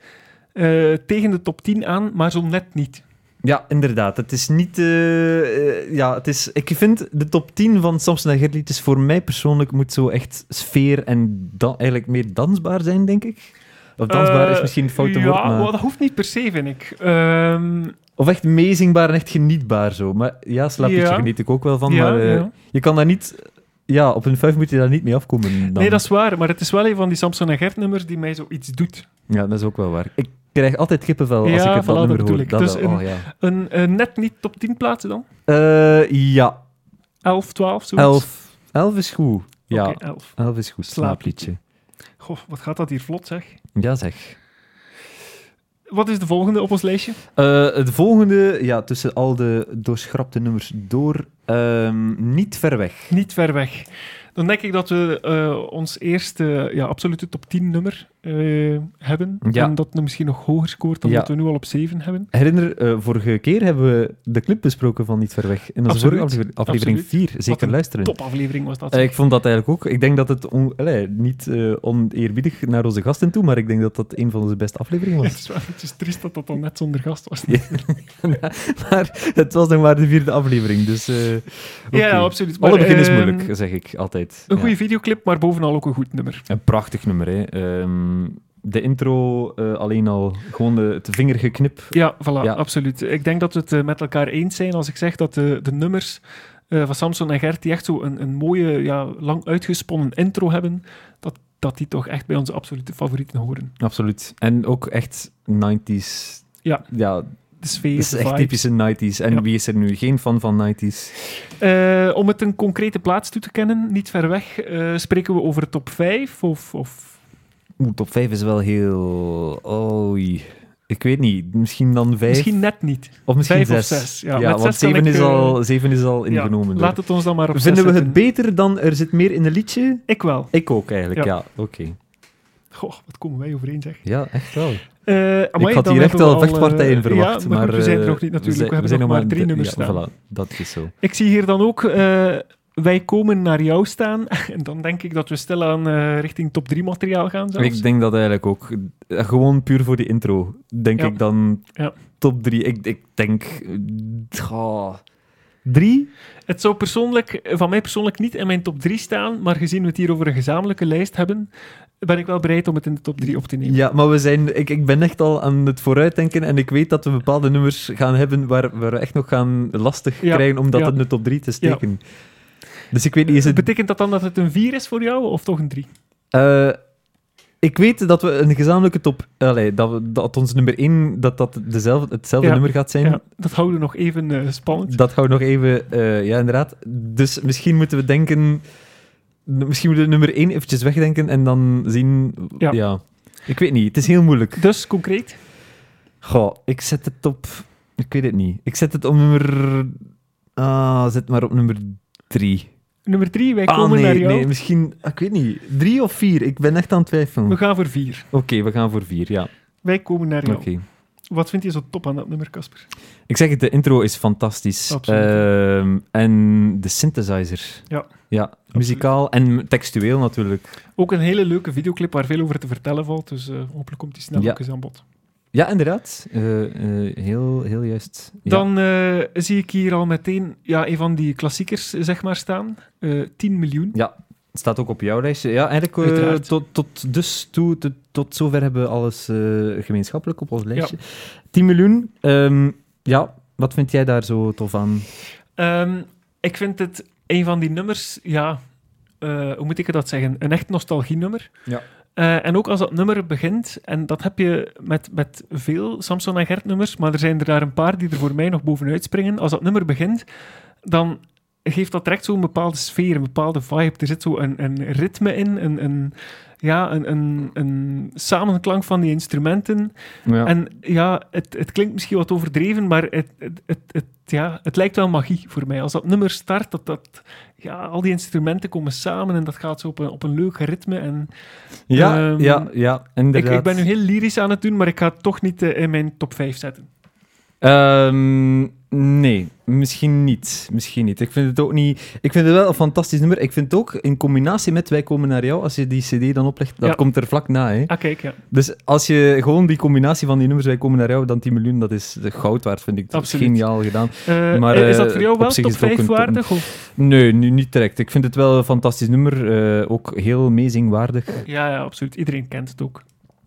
Speaker 2: eh, tegen de top 10 aan, maar zo net niet.
Speaker 1: Ja, inderdaad. Het is niet... eh, eh, ja, het is, ik vind de top 10 van Samson en Gerlied is voor mij persoonlijk moet zo echt sfeer en dan, eigenlijk meer dansbaar zijn, denk ik. Of dansbaar is
Speaker 2: Eh,
Speaker 1: misschien een foute
Speaker 2: ja,
Speaker 1: woord, maar...
Speaker 2: maar dat hoeft niet per se, vind ik. Ehm,
Speaker 1: Of echt meezingbaar en echt genietbaar zo. Maar ja, slaapliedje
Speaker 2: Ja.
Speaker 1: geniet ik ook wel van,
Speaker 2: ja,
Speaker 1: maar eh,
Speaker 2: ja.
Speaker 1: je kan daar niet... Ja, op een vijf moet je daar niet mee afkomen dan.
Speaker 2: Nee, dat is waar, maar het is wel een van die Samson en Gert nummers die mij zoiets doet.
Speaker 1: Ja, dat is ook wel waar. Ik krijg altijd kippenvel als
Speaker 2: Ja,
Speaker 1: ik het
Speaker 2: voilà,
Speaker 1: dat
Speaker 2: dat
Speaker 1: nummer
Speaker 2: bedoel
Speaker 1: hoor.
Speaker 2: ik.
Speaker 1: Dat
Speaker 2: Dus
Speaker 1: wel,
Speaker 2: een-
Speaker 1: oh, ja.
Speaker 2: Een, eh, net niet top 10 plaatsen dan?
Speaker 1: Eh, ja,
Speaker 2: 11, 12, zoiets?
Speaker 1: elf. Elf is goed. Ja,
Speaker 2: Oké, 11.
Speaker 1: elf is goed. Slaapliedje.
Speaker 2: Goh, wat gaat dat hier vlot, zeg.
Speaker 1: Ja, zeg.
Speaker 2: Wat is de volgende op ons lijstje?
Speaker 1: Eh, het volgende, ja, tussen al de doorschrapte nummers door, ehm, niet ver weg.
Speaker 2: Niet ver weg. Dan denk ik dat we eh, ons eerste ja, absolute top 10 nummer eh, hebben.
Speaker 1: Ja.
Speaker 2: En dat het misschien nog hoger scoort dan
Speaker 1: Ja.
Speaker 2: dat we nu al op 7 hebben.
Speaker 1: Herinner, eh, vorige keer hebben we de clip besproken van Niet ver weg. In onze
Speaker 2: Absoluut.
Speaker 1: vorige aflever- aflevering
Speaker 2: Absoluut.
Speaker 1: 4, zeker
Speaker 2: een
Speaker 1: luisteren.
Speaker 2: Topaflevering was dat.
Speaker 1: Eh, ik vond dat eigenlijk ook. Ik denk dat het on- allee, niet eh, oneerbiedig naar onze gasten toe, maar ik denk dat dat een van onze beste afleveringen was.
Speaker 2: het is wel eventjes triest dat dat dan net zonder gast was.
Speaker 1: Ja, maar het was nog maar de vierde aflevering, dus... eh, oké.
Speaker 2: Ja, absoluut.
Speaker 1: Alle
Speaker 2: Maar,
Speaker 1: begin is
Speaker 2: ehm,
Speaker 1: moeilijk, zeg ik altijd.
Speaker 2: Een
Speaker 1: Ja.
Speaker 2: goede videoclip, maar bovenal ook een goed nummer.
Speaker 1: Een prachtig nummer, hè. Ehm, de intro eh, alleen al, gewoon de, het vingergeknip.
Speaker 2: Ja, voilà,
Speaker 1: Ja.
Speaker 2: absoluut. Ik denk dat we het eh, met elkaar eens zijn als ik zeg dat de, de nummers eh, van Samson en Gert, die echt zo een, een mooie, ja, lang uitgesponnen intro hebben, dat, dat die toch echt bij onze absolute favorieten horen.
Speaker 1: Absoluut. En ook echt 90s.
Speaker 2: Ja.
Speaker 1: Ja,
Speaker 2: De sfeer,
Speaker 1: het is
Speaker 2: de
Speaker 1: echt
Speaker 2: vibe.
Speaker 1: typische 90s. En
Speaker 2: Ja.
Speaker 1: wie is er nu geen fan van 90s?
Speaker 2: Eh, om het een concrete plaats toe te kennen, niet ver weg, eh, spreken we over top 5 of... of
Speaker 1: Oeh, top 5 is wel heel... Oei. Ik weet niet. Misschien dan 5.
Speaker 2: misschien net niet.
Speaker 1: of misschien
Speaker 2: vijf of
Speaker 1: 6.
Speaker 2: zes. Ja,
Speaker 1: Ja,
Speaker 2: met
Speaker 1: want
Speaker 2: zes kan
Speaker 1: 7
Speaker 2: ik,
Speaker 1: is,
Speaker 2: eh,
Speaker 1: al, 7 is al
Speaker 2: Ja,
Speaker 1: ingenomen. door.
Speaker 2: laat het ons dan maar op
Speaker 1: Vinden
Speaker 2: zes
Speaker 1: we het
Speaker 2: zetten.
Speaker 1: beter dan er zit meer in een liedje?
Speaker 2: Ik wel.
Speaker 1: Ik ook eigenlijk, ja.
Speaker 2: Ja.
Speaker 1: Oké.
Speaker 2: Goh, wat komen wij overeen, zeg.
Speaker 1: Ja, echt wel.
Speaker 2: Eh, amai,
Speaker 1: ik had
Speaker 2: dan
Speaker 1: hier echt
Speaker 2: hebben we
Speaker 1: wel
Speaker 2: al, eh,
Speaker 1: vechtpartijen verwacht.
Speaker 2: Ja, maar, goed, we zijn er
Speaker 1: eh,
Speaker 2: nog niet natuurlijk. We,
Speaker 1: zijn-
Speaker 2: hebben
Speaker 1: zijn
Speaker 2: nog maar drie
Speaker 1: ja,
Speaker 2: nummers staan.
Speaker 1: Voilà, dat is zo.
Speaker 2: Ik zie hier dan ook eh, Wij komen naar jou staan. En dan denk ik dat we stilaan eh richting top 3 materiaal gaan zelfs.
Speaker 1: Ik denk dat eigenlijk ook. eh, Gewoon puur voor die intro, denk
Speaker 2: Ja.
Speaker 1: ik dan
Speaker 2: Ja.
Speaker 1: top drie. Ik, ik denk... eh, ah, drie?
Speaker 2: Het zou persoonlijk, eh, van mij persoonlijk niet in mijn top 3 staan, maar gezien we het hier over een gezamenlijke lijst hebben, ben ik wel bereid om het in de top 3 op te nemen.
Speaker 1: Ja, maar we zijn, ik, ik ben echt al aan het vooruitdenken en ik weet dat we bepaalde nummers gaan hebben waar, waar we echt nog gaan lastig
Speaker 2: Ja,
Speaker 1: krijgen om dat
Speaker 2: ja.
Speaker 1: in de top drie te steken. Dus ik weet niet, is het
Speaker 2: Betekent dat dan dat het een 4 is voor jou, of toch een 3?
Speaker 1: Eh, ik weet dat we een gezamenlijke top. Allee, dat, we, dat ons nummer 1 dat dat dezelfde, hetzelfde
Speaker 2: Ja,
Speaker 1: nummer gaat zijn.
Speaker 2: Ja, dat houden we nog even eh, spannend.
Speaker 1: Dat gaan we nog even. eh, ja, inderdaad. Dus misschien moeten we denken. Misschien moeten we nummer 1 eventjes wegdenken en dan zien. Ja.
Speaker 2: Ja.
Speaker 1: Ik weet niet. Het is heel moeilijk.
Speaker 2: Dus concreet,
Speaker 1: Goh, ik zet het op. Ik weet het niet. Ik zet het op nummer. Ah, zet maar op nummer 3.
Speaker 2: nummer 3, wij
Speaker 1: Ah,
Speaker 2: komen naar
Speaker 1: nee,
Speaker 2: jou.
Speaker 1: nee, misschien. Ik weet niet. 3 of 4. Ik ben echt aan het twijfelen.
Speaker 2: We
Speaker 1: Oké,
Speaker 2: gaan voor 4.
Speaker 1: we gaan voor 4. Ja,
Speaker 2: Wij komen naar
Speaker 1: oké.
Speaker 2: jou. Wat vind je zo top aan dat nummer, Casper?
Speaker 1: Ik zeg het, de intro is fantastisch.
Speaker 2: Absoluut.
Speaker 1: Ehm, en de synthesizer.
Speaker 2: Ja.
Speaker 1: Ja, muzikaal en textueel natuurlijk.
Speaker 2: Ook een hele leuke videoclip waar veel over te vertellen valt, dus eh, hopelijk komt die snel
Speaker 1: Ja.
Speaker 2: ook eens aan bod.
Speaker 1: Ja, inderdaad. Eh, eh, heel, heel juist. Ja.
Speaker 2: Dan eh, zie ik hier al meteen ja, een van die klassiekers zeg maar, staan. Eh 10 miljoen.
Speaker 1: Ja, het staat ook op jouw lijstje. Ja, eigenlijk eh,
Speaker 2: Uiteraard.
Speaker 1: tot, tot, dus toe, tot, tot zover hebben we alles eh, gemeenschappelijk op ons lijstje. 10 miljoen. ehm, ja, wat vind jij daar zo tof aan?
Speaker 2: Ehm, ik vind het een van die nummers, ja, eh, hoe moet ik dat zeggen? Een echt nostalgie-nummer.
Speaker 1: Ja.
Speaker 2: Eh, en ook als dat nummer begint, en dat heb je met, met veel Samson en Gert nummers, maar er zijn er daar een paar die er voor mij nog bovenuit springen. Als dat nummer begint, dan geeft dat direct zo'n bepaalde sfeer, een bepaalde vibe. Er zit zo een, een ritme in, een, een, ja, een, een, een samenklank van die instrumenten.
Speaker 1: Ja.
Speaker 2: En ja, het, het klinkt misschien wat overdreven, maar het, het, het, het- ja, het lijkt wel magie voor mij. Als dat nummer start, dat, dat, ja, al die instrumenten komen samen en dat gaat zo op een, op een leuk ritme. En
Speaker 1: ja,
Speaker 2: ehm,
Speaker 1: ja, ja,
Speaker 2: ik,
Speaker 1: inderdaad.
Speaker 2: ik ben nu heel lyrisch aan het doen, maar ik ga het toch niet eh, in mijn top 5 zetten.
Speaker 1: Ehm, nee, misschien niet. Misschien niet. Ik vind het ook niet. Ik vind het wel een fantastisch nummer. Ik vind het ook in combinatie met Wij komen naar jou, als je die CD dan oplegt, dat
Speaker 2: Ja.
Speaker 1: komt er vlak na. Hè?
Speaker 2: Ah, kijk, ja.
Speaker 1: Dus als je gewoon die combinatie van die nummers Wij komen naar jou, dan 10 miljoen, dat is goud waard, vind ik. Dat is
Speaker 2: Absoluut.
Speaker 1: geniaal gedaan.
Speaker 2: Eh,
Speaker 1: Maar,
Speaker 2: is
Speaker 1: eh,
Speaker 2: dat voor jou
Speaker 1: op
Speaker 2: wel
Speaker 1: zich
Speaker 2: top
Speaker 1: is het ook
Speaker 2: 5
Speaker 1: een-
Speaker 2: waardig? Of?
Speaker 1: Nee, nu niet direct. Ik vind het wel een fantastisch nummer. eh, ook heel meezingwaardig.
Speaker 2: Ja, ja, absoluut. Iedereen kent het ook.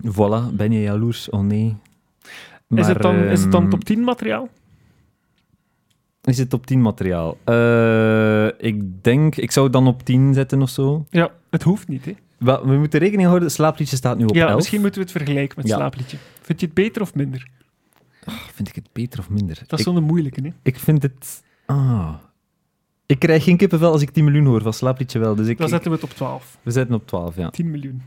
Speaker 1: Voilà, ben je jaloers? Oh nee.
Speaker 2: is,
Speaker 1: Maar,
Speaker 2: het dan, is het dan
Speaker 1: ehm,
Speaker 2: top 10 materiaal?
Speaker 1: Is het op 10 materiaal? Eh, ik denk, ik zou het dan op 10 zetten of zo.
Speaker 2: Ja, het hoeft niet, hè?
Speaker 1: Wel, we moeten rekening houden, slaapliedje staat nu op
Speaker 2: Ja,
Speaker 1: 11.
Speaker 2: misschien moeten we het vergelijken met
Speaker 1: Ja.
Speaker 2: slaapliedje. Vind je het beter of minder?
Speaker 1: Vind ik het beter of minder?
Speaker 2: Dat is
Speaker 1: ik,
Speaker 2: zo'n moeilijke, hè?
Speaker 1: ik vind het... Ah. Ik krijg geen kippenvel als ik 10 miljoen hoor, van slaapliedje wel. Dus ik,
Speaker 2: Dan
Speaker 1: ik-
Speaker 2: zetten we het op 12.
Speaker 1: we zetten op 12, ja.
Speaker 2: 10 miljoen.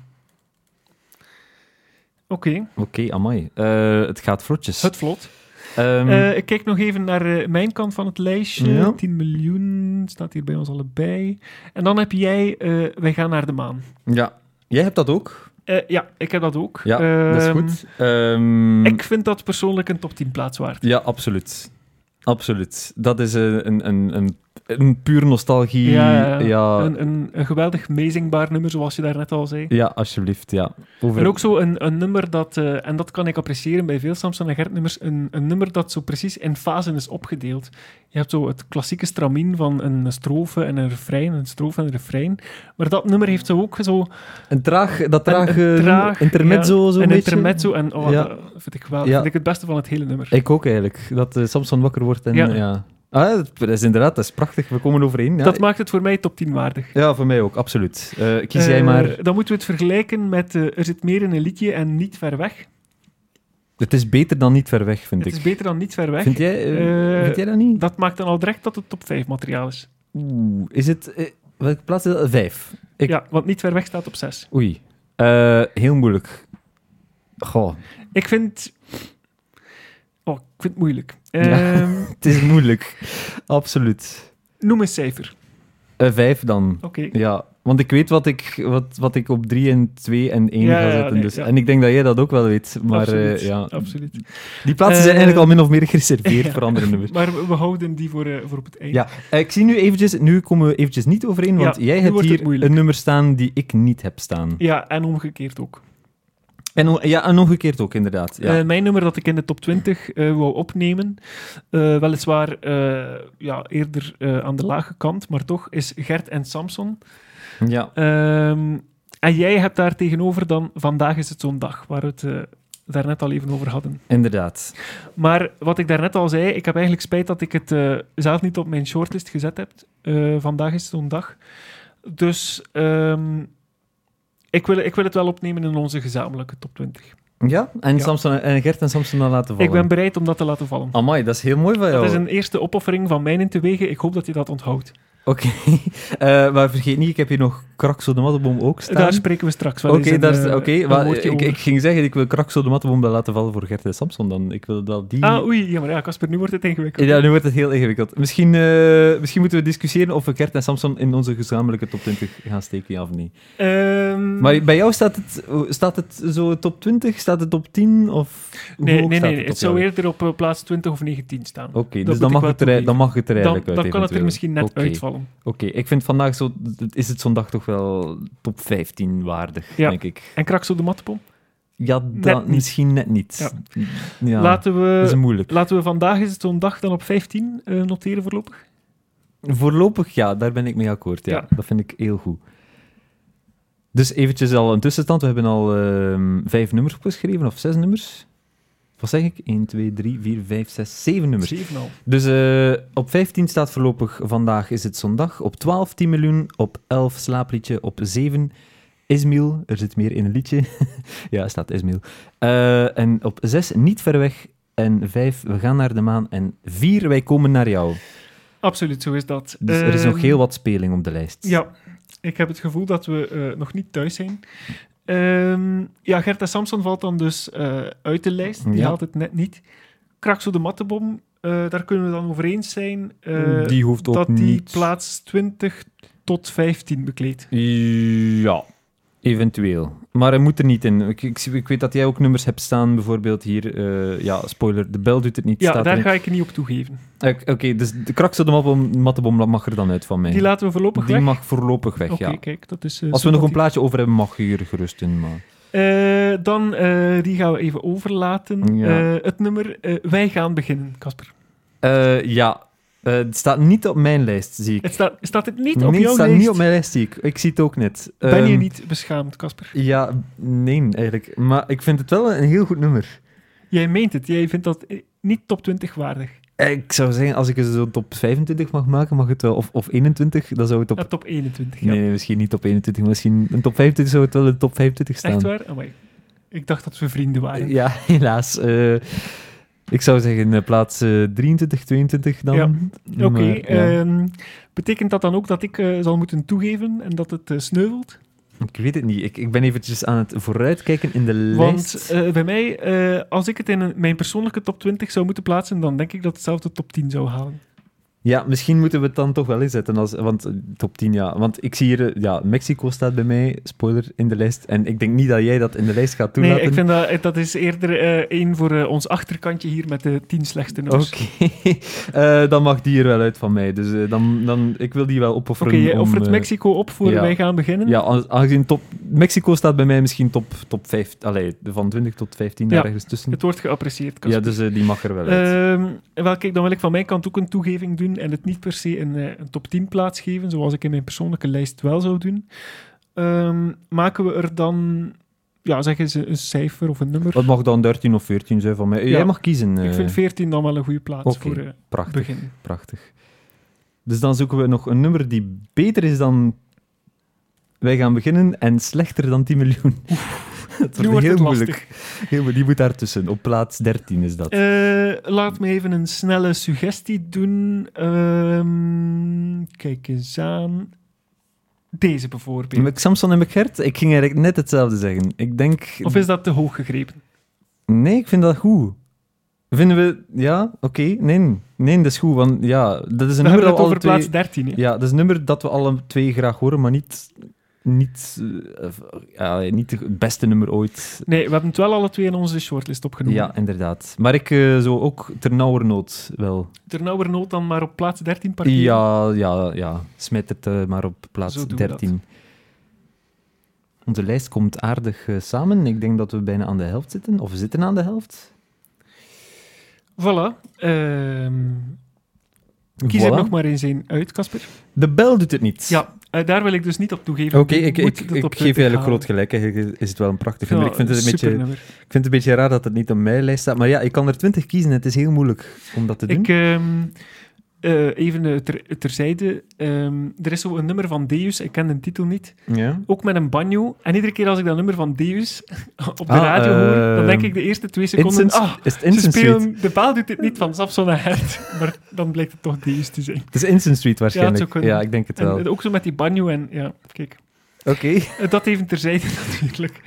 Speaker 2: Oké,
Speaker 1: Oké, amai. Eh, het gaat vlotjes.
Speaker 2: het vlot.
Speaker 1: Ehm,
Speaker 2: Eh, ik kijk nog even naar eh, mijn kant van het lijstje.
Speaker 1: Ja.
Speaker 2: 10 miljoen staat hier bij ons allebei. En dan heb jij eh, Wij gaan naar de maan.
Speaker 1: ja. Jij hebt dat ook?
Speaker 2: Eh, ja, ik heb dat ook.
Speaker 1: Ja, dat is
Speaker 2: Ehm,
Speaker 1: goed. Ehm,
Speaker 2: Ik vind dat persoonlijk een top 10 plaats waard.
Speaker 1: Ja, absoluut. Absoluut. Dat is een, een, een, een, een puur nostalgie.
Speaker 2: Ja, ja.
Speaker 1: ja,
Speaker 2: Een, een, een geweldig meezingbaar nummer, zoals je daarnet al zei.
Speaker 1: Ja, alsjeblieft, ja. Over...
Speaker 2: En ook zo een, een nummer dat, eh, en dat kan ik appreciëren bij veel Samson en Gert nummers, een, een nummer dat zo precies in fasen is opgedeeld. Je hebt zo het klassieke stramien van een strofe en een refrein, een strofe en een refrein. Maar dat nummer heeft zo ook zo
Speaker 1: Een traag, dat
Speaker 2: Een-
Speaker 1: traag,
Speaker 2: een traag,
Speaker 1: intermezzo,
Speaker 2: ja.
Speaker 1: zo'n
Speaker 2: Een
Speaker 1: beetje.
Speaker 2: intermezzo en oh,
Speaker 1: Ja.
Speaker 2: dat vind ik wel.
Speaker 1: Ja.
Speaker 2: Vind ik het beste van het hele nummer.
Speaker 1: Ik ook eigenlijk, dat eh, Samson wakker wordt en
Speaker 2: Ja.
Speaker 1: ja. Ah, dat is inderdaad, dat is prachtig, we komen overeen. Ja,
Speaker 2: Dat maakt het voor mij top 10 waardig.
Speaker 1: ja voor mij ook, absoluut. Eh, kies jij
Speaker 2: Eh,
Speaker 1: maar...
Speaker 2: Dan moeten we het vergelijken met eh, Er zit meer in een liedje en Niet ver weg.
Speaker 1: Het is beter dan niet ver weg, vind
Speaker 2: Het
Speaker 1: ik.
Speaker 2: is beter dan Niet ver weg.
Speaker 1: Vind jij, eh,
Speaker 2: Eh,
Speaker 1: vind jij dat niet?
Speaker 2: Dat maakt dan al direct dat het top 5 materiaal is.
Speaker 1: Oeh, is het... eh, welke plaats is dat? Vijf. Ik-
Speaker 2: Ja, want Niet ver weg staat op 6.
Speaker 1: Oei. Eh, heel moeilijk. Goh,
Speaker 2: Ik vind... Oh, ik vind het moeilijk.
Speaker 1: Ja.
Speaker 2: Ehm,
Speaker 1: het is moeilijk. absoluut.
Speaker 2: Noem een cijfer.
Speaker 1: Eh, vijf dan.
Speaker 2: Oké.
Speaker 1: Ja, want ik weet wat ik, wat, wat ik op 3 en 2 en 1
Speaker 2: Ja,
Speaker 1: ga
Speaker 2: ja,
Speaker 1: zetten.
Speaker 2: nee,
Speaker 1: dus.
Speaker 2: ja.
Speaker 1: En ik denk dat jij dat ook wel weet. Maar eh,
Speaker 2: absoluut.
Speaker 1: ja,
Speaker 2: absoluut.
Speaker 1: die plaatsen zijn
Speaker 2: Eh,
Speaker 1: eigenlijk al min of meer gereserveerd
Speaker 2: ja.
Speaker 1: voor andere nummers.
Speaker 2: Maar we, we houden die voor, eh, voor op het eind.
Speaker 1: Ja, eh, ik zie nu eventjes, nu komen we eventjes niet overeen, want
Speaker 2: Ja,
Speaker 1: jij
Speaker 2: nu
Speaker 1: hebt
Speaker 2: wordt het
Speaker 1: hier
Speaker 2: moeilijk.
Speaker 1: een nummer staan die ik niet heb staan.
Speaker 2: ja, en omgekeerd ook.
Speaker 1: En, o- ja, en omgekeerd ook, inderdaad. Ja.
Speaker 2: Eh, mijn nummer dat ik in de top 20 eh, wou opnemen, eh, weliswaar eh, ja, eerder eh, aan de lage kant, maar toch, is Gert en Samson. Eh.
Speaker 1: ja.
Speaker 2: Ehm, en jij hebt daar tegenover dan Vandaag is het zo'n dag, waar we het eh, daarnet al even over hadden.
Speaker 1: Inderdaad.
Speaker 2: Maar wat ik daarnet al zei, ik heb eigenlijk spijt dat ik het eh, zelf niet op mijn shortlist gezet heb. Eh, vandaag is het zo'n dag. Dus ehm, ik, wil, ik wil het wel opnemen in onze gezamenlijke top 20.
Speaker 1: Ja, en,
Speaker 2: Ja.
Speaker 1: Samson, en Gert en Samson dan laten
Speaker 2: Ik
Speaker 1: vallen.
Speaker 2: ben bereid om dat te laten vallen.
Speaker 1: Amai, dat is heel mooi van jou.
Speaker 2: Dat is een eerste opoffering van mijn in te wegen. Ik hoop dat je dat onthoudt.
Speaker 1: Oké, Eh, maar vergeet niet, ik heb hier nog Krakso de Mattenboom ook staan.
Speaker 2: Daar spreken we straks wel
Speaker 1: Oké,
Speaker 2: eens een,
Speaker 1: daar is-
Speaker 2: eh,
Speaker 1: oké,
Speaker 2: een
Speaker 1: maar
Speaker 2: woordje
Speaker 1: ik,
Speaker 2: over.
Speaker 1: ik ging zeggen, ik wil Krakso de mattenbom wel laten vallen voor Gert en Samson dan. Ik wil wel die...
Speaker 2: Ah, oei, ja, maar ja, Casper, nu wordt het ingewikkeld.
Speaker 1: ja, nu wordt het heel ingewikkeld. Misschien, eh, misschien moeten we discussiëren of we Gert en Samson in onze gezamenlijke top 20 gaan steken, ja of niet.
Speaker 2: Mm. Ehm,
Speaker 1: Maar bij jou staat het, staat het zo top 20, staat het top 10 of hoe
Speaker 2: nee,
Speaker 1: hoog
Speaker 2: nee,
Speaker 1: staat
Speaker 2: nee, het
Speaker 1: op
Speaker 2: zou
Speaker 1: jou?
Speaker 2: eerder op eh, plaats 20 of 19 staan.
Speaker 1: Oké,
Speaker 2: dat
Speaker 1: dus
Speaker 2: moet
Speaker 1: dan
Speaker 2: ik
Speaker 1: mag,
Speaker 2: wel
Speaker 1: het er,
Speaker 2: toegeven.
Speaker 1: dan mag het er
Speaker 2: Dan,
Speaker 1: eigenlijk uit
Speaker 2: dan kan het er
Speaker 1: eventueel.
Speaker 2: misschien net
Speaker 1: Oké,
Speaker 2: uitvallen.
Speaker 1: Oké, ik vind vandaag zo, is het zondag toch wel top 15 waardig,
Speaker 2: Ja.
Speaker 1: denk ik.
Speaker 2: En Krakso de mattenpom?
Speaker 1: Ja, dat
Speaker 2: niet.
Speaker 1: misschien net niet.
Speaker 2: Ja.
Speaker 1: Ja,
Speaker 2: Laten,
Speaker 1: dat is
Speaker 2: we,
Speaker 1: moeilijk.
Speaker 2: laten we vandaag is het zo'n dag dan op 15 eh, noteren voorlopig.
Speaker 1: Voorlopig ja, daar ben ik mee akkoord. Ja.
Speaker 2: Ja.
Speaker 1: Dat vind ik heel goed. Dus eventjes al een tussenstand. We hebben al ehm, vijf nummers opgeschreven, of zes nummers. Wat zeg ik? 1, 2, 3, 4, 5, 6, 7 nummers.
Speaker 2: 7 al.
Speaker 1: Dus eh, op 15 staat voorlopig vandaag is het zondag. Op 12 10 miljoen. Op 11 slaapliedje. Op 7 Ismail. Er zit meer in een liedje. ja, staat Ismail. Eh, en op 6 niet ver weg. En 5 we gaan naar de maan. En 4 wij komen naar jou.
Speaker 2: Absoluut, zo is dat.
Speaker 1: Dus er is nog
Speaker 2: Ehm,
Speaker 1: heel wat speling op de lijst.
Speaker 2: Ja, ik heb het gevoel dat we eh, nog niet thuis zijn. Ehm, ja, Gerta Samson valt dan dus eh, uit de lijst. Die
Speaker 1: Ja.
Speaker 2: haalt het net niet. Krakso de Mattenbom, eh, daar kunnen we dan over eens zijn. eh,
Speaker 1: die hoeft ook
Speaker 2: dat die
Speaker 1: niet...
Speaker 2: plaats 20 tot 15 bekleedt.
Speaker 1: Ja. Eventueel. Maar hij moet er niet in. Ik, ik, ik weet dat jij ook nummers hebt staan, bijvoorbeeld hier. eh, ja, spoiler, de bel doet het niet.
Speaker 2: Ja,
Speaker 1: staat
Speaker 2: daar
Speaker 1: erin.
Speaker 2: ga ik niet op toegeven.
Speaker 1: Oké, oké, dus de krakse de mattebom- mattebom mag er dan uit van mij.
Speaker 2: Die laten we voorlopig
Speaker 1: Die
Speaker 2: weg.
Speaker 1: mag voorlopig weg,
Speaker 2: Oké,
Speaker 1: ja.
Speaker 2: kijk, dat is... eh,
Speaker 1: Als we nog een
Speaker 2: sympathiek.
Speaker 1: plaatje over hebben, mag je hier gerust in. Maar...
Speaker 2: Eh, dan, eh, die gaan we even overlaten.
Speaker 1: Ja.
Speaker 2: Eh, het nummer eh, Wij gaan beginnen, Casper.
Speaker 1: Eh, ja, Eh, het staat niet op mijn lijst, zie ik.
Speaker 2: Het staat, staat het niet
Speaker 1: nee,
Speaker 2: op
Speaker 1: het
Speaker 2: jouw
Speaker 1: staat
Speaker 2: lijst?
Speaker 1: niet op mijn lijst, zie ik. Ik zie het ook net.
Speaker 2: Ben je
Speaker 1: Ehm,
Speaker 2: niet beschaamd, Casper?
Speaker 1: Ja, nee, eigenlijk. Maar ik vind het wel een heel goed nummer.
Speaker 2: Jij meent het. Jij vindt dat eh, niet top 20 waardig.
Speaker 1: Eh, Ik zou zeggen, als ik er zo'n top 25 mag maken, mag het wel. Of, of 21, dan zou het op...
Speaker 2: Ja, top 21. Ja.
Speaker 1: Nee, nee, misschien niet top 21, maar misschien een top 25 zou het wel in de top 25 staan.
Speaker 2: Echt waar? Amai. Ik dacht dat we vrienden waren.
Speaker 1: Ja, helaas. Eh, ik zou zeggen eh, plaats eh, 23, 22 dan.
Speaker 2: Ja.
Speaker 1: Maar,
Speaker 2: Oké,
Speaker 1: ja.
Speaker 2: ehm, betekent dat dan ook dat ik eh, zal moeten toegeven en dat het eh, sneuvelt?
Speaker 1: Ik weet het niet. Ik, ik ben eventjes aan het vooruitkijken in de
Speaker 2: Want
Speaker 1: lijst.
Speaker 2: eh, bij mij, eh, als ik het in een- mijn persoonlijke top 20 zou moeten plaatsen, dan denk ik dat hetzelfde top 10 zou halen.
Speaker 1: Ja, misschien moeten we het dan toch wel inzetten. Als, want eh, top 10, ja. Want ik zie hier, eh, ja, Mexico staat bij mij, spoiler, in de lijst. En ik denk niet dat jij dat in de lijst gaat toelaten.
Speaker 2: Nee, ik vind dat, dat is eerder eh, één voor eh, ons achterkantje hier met de 10 slechtste
Speaker 1: Oké,
Speaker 2: nummers.
Speaker 1: Eh, dan mag die er wel uit van mij. Dus eh, dan, dan, ik wil die wel opofferen.
Speaker 2: Oké, jij
Speaker 1: om,
Speaker 2: offer het
Speaker 1: eh, Mexico.
Speaker 2: Mexico op voor
Speaker 1: ja.
Speaker 2: wij gaan beginnen.
Speaker 1: Ja, als- aangezien top, Mexico staat bij mij misschien top, top 5, allee, van 20 tot 15
Speaker 2: Ja.
Speaker 1: daar ergens tussen.
Speaker 2: Het wordt geapprecieerd,
Speaker 1: Ja,
Speaker 2: Casper.
Speaker 1: dus eh, die mag er wel uit.
Speaker 2: Ehm, wel, kijk, dan wil ik van mijn kant ook een toegeving doen en het niet per se een, eh, een top 10 plaats geven, zoals ik in mijn persoonlijke lijst wel zou doen. Ehm, maken we er dan, ja, zeg eens een, een cijfer of een nummer?
Speaker 1: Wat mag dan 13 of 14 zijn van mij? Eh,
Speaker 2: Ja.
Speaker 1: Jij mag kiezen. eh,
Speaker 2: ik vind 14 dan wel een goede plaats
Speaker 1: oké.
Speaker 2: voor eh,
Speaker 1: prachtig,
Speaker 2: begin.
Speaker 1: prachtig. Dus dan zoeken we nog een nummer die beter is dan... Wij gaan beginnen en slechter dan 10 miljoen. Dat
Speaker 2: Nu wordt
Speaker 1: heel
Speaker 2: het
Speaker 1: moeilijk.
Speaker 2: lastig.
Speaker 1: Heel moe- die moet daartussen. Op plaats 13 is dat.
Speaker 2: Eh, laat me even een snelle suggestie doen. Ehm, kijk eens aan. Deze bijvoorbeeld.
Speaker 1: Met Samson en McGert, ik ging eigenlijk net hetzelfde zeggen. Ik denk...
Speaker 2: Of is dat te hoog gegrepen?
Speaker 1: Nee, ik vind dat goed. Vinden we... Ja, oké. Nee, nee, dat is goed. Want ja, dat is een
Speaker 2: Dan hebben
Speaker 1: nummer
Speaker 2: we
Speaker 1: dat
Speaker 2: het
Speaker 1: we alle
Speaker 2: over
Speaker 1: twee...
Speaker 2: plaats 13. hè?
Speaker 1: Ja, dat is een nummer dat we alle twee graag horen, maar niet, niet, eh, ja, niet het beste nummer ooit.
Speaker 2: Nee, we hebben het wel alle twee in onze shortlist opgenomen.
Speaker 1: Ja, inderdaad. Maar ik eh, zou ook ternauwernood wel.
Speaker 2: Ternauwernood dan maar op plaats 13 parkeren.
Speaker 1: Ja, ja, ja. Smet het eh, maar op plaats
Speaker 2: Zo doen we
Speaker 1: 13. Onze lijst komt aardig eh, samen. Ik denk dat we bijna aan de helft zitten. Of we zitten aan de helft.
Speaker 2: Voilà. Ehm, kies
Speaker 1: Voilà.
Speaker 2: er nog maar eens een uit, Casper.
Speaker 1: De bel doet het niet.
Speaker 2: Ja, eh, daar wil ik dus niet op toegeven.
Speaker 1: Oké,
Speaker 2: Je
Speaker 1: ik,
Speaker 2: moet
Speaker 1: ik,
Speaker 2: dat
Speaker 1: ik,
Speaker 2: op Ah,
Speaker 1: geef je
Speaker 2: 20
Speaker 1: eigenlijk
Speaker 2: halen.
Speaker 1: groot gelijk. Eigenlijk is het wel een prachtig
Speaker 2: Ja,
Speaker 1: nummer. ik vind het een beetje...
Speaker 2: supernummer.
Speaker 1: Ik vind het een beetje raar dat het niet op mijn lijst staat. Maar ja, ik kan er 20 kiezen. Het is heel moeilijk om dat te doen.
Speaker 2: Ik, ehm, eh, even eh, ter, terzijde. Ehm, er is zo een nummer van Deus, ik ken de titel niet.
Speaker 1: ja.
Speaker 2: Ook met een banjo. En iedere keer als ik dat nummer van Deus op de
Speaker 1: Ah,
Speaker 2: radio hoor, dan
Speaker 1: ehm,
Speaker 2: denk ik de eerste twee seconden...
Speaker 1: Incense,
Speaker 2: Ah,
Speaker 1: is het
Speaker 2: ze
Speaker 1: Incense Street?
Speaker 2: spelen De Baal doet dit niet van Samson en Hert. Maar dan blijkt het toch Deus te zijn.
Speaker 1: Het is Incense Street
Speaker 2: Ja, het
Speaker 1: waarschijnlijk.
Speaker 2: zou
Speaker 1: Ja,
Speaker 2: kunnen.
Speaker 1: ik denk het
Speaker 2: En
Speaker 1: wel.
Speaker 2: eh,
Speaker 1: Oké,
Speaker 2: ook zo met die banjo en... Ja, kijk. Eh, Dat even terzijde natuurlijk.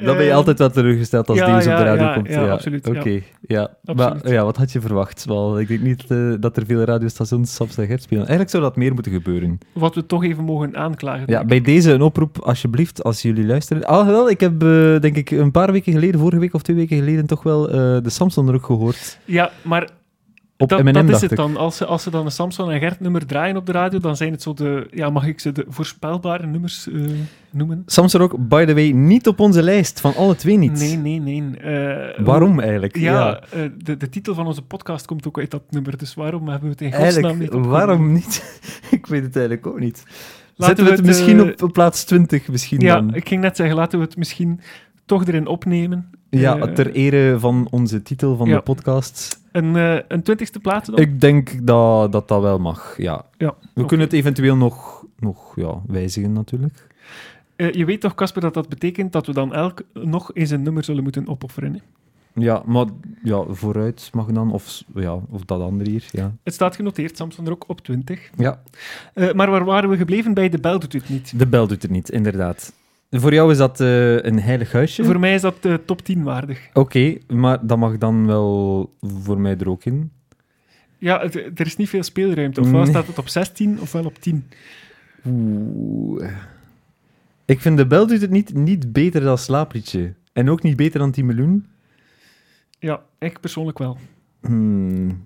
Speaker 1: dan ben je
Speaker 2: Ehm,
Speaker 1: altijd wel teleurgesteld als
Speaker 2: ja,
Speaker 1: die eens op de
Speaker 2: ja,
Speaker 1: radio
Speaker 2: ja,
Speaker 1: komt.
Speaker 2: ja, absoluut, ja.
Speaker 1: Oké, ja.
Speaker 2: Absoluut.
Speaker 1: Maar ja, wat had je verwacht? Wel, ik denk niet eh, dat er veel radiostations Saps en Gert spelen. Eigenlijk zou dat meer moeten gebeuren.
Speaker 2: Wat we toch even mogen aanklagen.
Speaker 1: Ja, bij deze een oproep, alsjeblieft, als jullie luisteren. Alhoewel, ik heb eh, denk ik een paar weken geleden, vorige week of twee weken geleden, toch wel eh, de Samson er ook gehoord.
Speaker 2: Ja, maar
Speaker 1: Op
Speaker 2: dat,
Speaker 1: M&M
Speaker 2: dat is
Speaker 1: dacht
Speaker 2: het
Speaker 1: ik.
Speaker 2: dan. Als ze, als ze dan een Samson en Gert nummer draaien op de radio, dan zijn het zo de, ja, mag ik ze de voorspelbare nummers eh, noemen?
Speaker 1: Samson ook, by the way, niet op onze lijst. Van alle twee niet.
Speaker 2: Nee, nee, nee. eh,
Speaker 1: Waarom eigenlijk?
Speaker 2: Ja, eh, de, de titel van onze podcast komt ook uit dat nummer, dus waarom hebben we het in godsnaam nou niet
Speaker 1: Eigenlijk,
Speaker 2: opgenomen?
Speaker 1: waarom niet? ik weet het eigenlijk ook niet. Zetten
Speaker 2: Laten
Speaker 1: we het, misschien
Speaker 2: eh,
Speaker 1: op, op plaats 20 misschien
Speaker 2: Ja,
Speaker 1: dan?
Speaker 2: ik ging net zeggen, laten we het misschien toch erin opnemen.
Speaker 1: Ja,
Speaker 2: eh,
Speaker 1: ter ere van onze titel van
Speaker 2: ja.
Speaker 1: de podcast.
Speaker 2: Een, eh een twintigste plaats dan?
Speaker 1: Ik denk dat dat, dat wel mag, ja.
Speaker 2: Ja,
Speaker 1: We
Speaker 2: oké.
Speaker 1: kunnen het eventueel nog, nog ja, wijzigen natuurlijk.
Speaker 2: Eh, je weet toch, Casper, dat dat betekent dat we dan elk nog eens een nummer zullen moeten opofferen. hè?
Speaker 1: Ja, maar ja, vooruit mag dan, of, s- ja, of dat andere hier, ja.
Speaker 2: Het staat genoteerd, Samson er ook op 20.
Speaker 1: Ja,
Speaker 2: Eh, maar waar waren we gebleven bij de bel doet het niet?
Speaker 1: de bel doet het niet, inderdaad. Voor jou is dat eh, een heilig huisje.
Speaker 2: Voor mij is dat eh, top 10 waardig.
Speaker 1: Oké, maar dat mag dan wel voor mij er ook in.
Speaker 2: Ja, het- er is niet veel speelruimte. Ofwel
Speaker 1: Nee.
Speaker 2: staat het op 16, ofwel op 10.
Speaker 1: Oeh. Ik vind de bel doet het niet, niet beter dan slaapliedje. En ook niet beter dan 10 miljoen.
Speaker 2: Ja, ik persoonlijk wel.
Speaker 1: Hmm.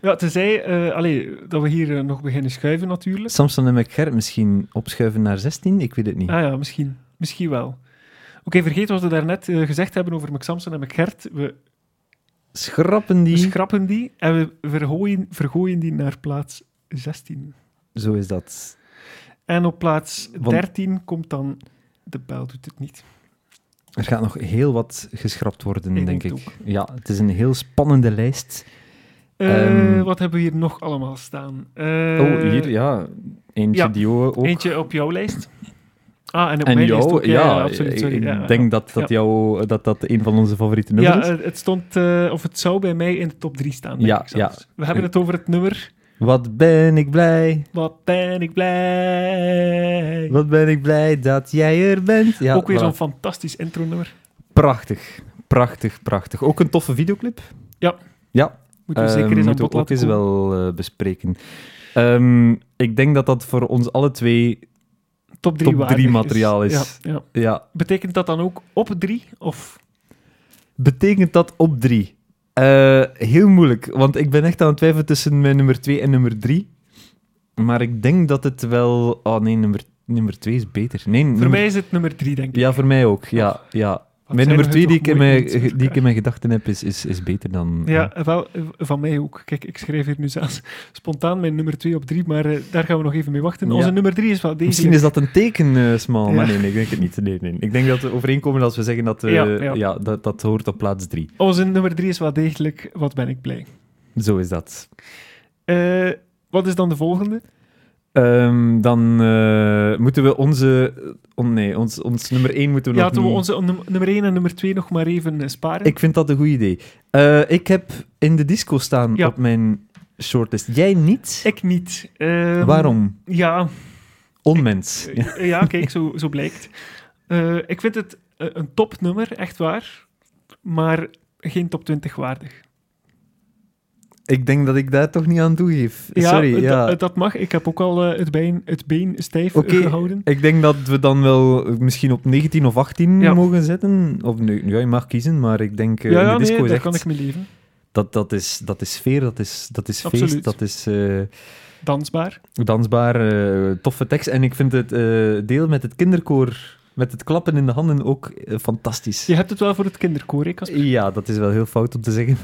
Speaker 2: Ja, tenzij eh allee, dat we hier eh, nog beginnen schuiven natuurlijk.
Speaker 1: Samson en McGert misschien opschuiven naar 16? Ik weet het niet.
Speaker 2: Ah ja, misschien. Misschien wel. Oké, vergeet wat we daarnet eh, gezegd hebben over McSamson en McGert. We,
Speaker 1: Schrappen
Speaker 2: we
Speaker 1: die.
Speaker 2: schrappen die en we vergooien, vergooien die naar plaats 16.
Speaker 1: Zo is dat.
Speaker 2: En op plaats
Speaker 1: Want-
Speaker 2: 13 komt dan De Bijl doet het niet.
Speaker 1: Er gaat nog heel wat geschrapt worden,
Speaker 2: Ik
Speaker 1: denk
Speaker 2: denk
Speaker 1: ik. Ja, het is een heel spannende lijst.
Speaker 2: Eh,
Speaker 1: Ehm.
Speaker 2: wat hebben we hier nog allemaal staan? Eh,
Speaker 1: oh, hier, ja. Eentje
Speaker 2: ja,
Speaker 1: Dio ook.
Speaker 2: Eentje op jouw lijst. Ah, en op
Speaker 1: en
Speaker 2: mijn lijst
Speaker 1: jou,
Speaker 2: ook.
Speaker 1: ja,
Speaker 2: absoluut. Sorry.
Speaker 1: Ik
Speaker 2: Ja, ja.
Speaker 1: denk dat dat,
Speaker 2: Ja.
Speaker 1: jou, dat dat een van onze favoriete nummers
Speaker 2: Ja,
Speaker 1: is.
Speaker 2: eh, het stond, eh, of het zou bij mij in de top 3 staan. denk
Speaker 1: Ja,
Speaker 2: ik zelfs. We hebben het over het nummer.
Speaker 1: Wat ben ik blij,
Speaker 2: Wat ben ik blij.
Speaker 1: wat ben ik blij dat jij er bent. Ja,
Speaker 2: ook weer
Speaker 1: voilà.
Speaker 2: zo'n fantastisch intro-nummer.
Speaker 1: Prachtig, prachtig, prachtig. Ook een toffe videoclip.
Speaker 2: Moeten we
Speaker 1: Eh,
Speaker 2: zeker eens
Speaker 1: moeten
Speaker 2: aan bod
Speaker 1: we ook
Speaker 2: laten
Speaker 1: eens
Speaker 2: komen.
Speaker 1: wel eh, bespreken. Ehm, ik denk dat dat voor ons alle twee...
Speaker 2: top
Speaker 1: top
Speaker 2: 3
Speaker 1: drie materiaal is.
Speaker 2: Ja, ja.
Speaker 1: Ja,
Speaker 2: Betekent dat dan ook op 3? Of
Speaker 1: betekent dat op drie? Eh, heel moeilijk, want ik ben echt aan het twijfelen tussen mijn nummer 2 en nummer 3. Maar ik denk dat het wel. Oh nee, nummer 2 nummer twee is beter. Nee,
Speaker 2: voor
Speaker 1: nummer-
Speaker 2: mij is het nummer 3, denk ik.
Speaker 1: Ja, voor mij ook. Ja, ja.
Speaker 2: Wat
Speaker 1: Mijn
Speaker 2: zijn
Speaker 1: nummer 2
Speaker 2: we toch
Speaker 1: die, ik in
Speaker 2: moeilijk
Speaker 1: mijn-
Speaker 2: mensen met
Speaker 1: die ik in
Speaker 2: elkaar.
Speaker 1: mijn gedachten heb is, is, is beter dan.
Speaker 2: Ja, eh, wel, eh, van mij ook. Kijk, ik schreef hier nu zelfs spontaan mijn nummer 2 op 3, maar eh, daar gaan we nog even mee wachten.
Speaker 1: Ja.
Speaker 2: Onze nummer 3 is wel deze.
Speaker 1: Misschien is dat een teken, eh Smal. Maar
Speaker 2: Ja.
Speaker 1: nee, nee, ik denk het niet. Nee, nee. Ik denk dat we overeenkomen als we zeggen dat, eh,
Speaker 2: Ja,
Speaker 1: ja,
Speaker 2: ja.
Speaker 1: dat dat hoort op plaats 3.
Speaker 2: Onze nummer 3 is wel degelijk. Wat ben ik blij.
Speaker 1: Zo is dat.
Speaker 2: Eh, wat is dan de volgende?
Speaker 1: Ehm, dan eh, moeten we onze. eh, on- nee, ons, ons nummer 1 moeten we
Speaker 2: ja,
Speaker 1: nog
Speaker 2: laten we
Speaker 1: niet-
Speaker 2: onze num- nummer 1 en nummer 2 nog maar even eh, sparen.
Speaker 1: Ik vind dat een goed idee. Eh, ik heb in de disco staan
Speaker 2: Ja.
Speaker 1: op mijn shortlist. Jij niet?
Speaker 2: Ik niet. Ehm,
Speaker 1: Waarom?
Speaker 2: Ja,
Speaker 1: Onmens. Ja.
Speaker 2: eh, ja kijk, zo, zo blijkt. Eh, ik vind het eh, een topnummer, echt waar. Maar geen top 20 waardig.
Speaker 1: Ik denk dat ik daar toch niet aan toegeef.
Speaker 2: Ja,
Speaker 1: Sorry.
Speaker 2: d-
Speaker 1: Ja.
Speaker 2: dat mag. Ik heb ook al eh, het, been, het been stijf eh,
Speaker 1: Oké.
Speaker 2: gehouden.
Speaker 1: Ik denk dat we dan wel eh, misschien op 19 of 18
Speaker 2: Ja.
Speaker 1: mogen zetten. Of nee, ja, je mag kiezen, maar ik denk eh,
Speaker 2: ja,
Speaker 1: in
Speaker 2: ja
Speaker 1: de disco
Speaker 2: nee,
Speaker 1: is
Speaker 2: daar
Speaker 1: echt-
Speaker 2: kan ik mee leven.
Speaker 1: dat, dat, is, dat is sfeer, dat is, dat is feest,
Speaker 2: Absoluut.
Speaker 1: dat is... eh,
Speaker 2: Dansbaar.
Speaker 1: dansbaar, eh, toffe tekst. En ik vind het eh, deel met het kinderkoor, met het klappen in de handen ook eh, fantastisch.
Speaker 2: Je hebt het wel voor het kinderkoor, hè, Casper?
Speaker 1: Ja, dat is wel heel fout om te zeggen.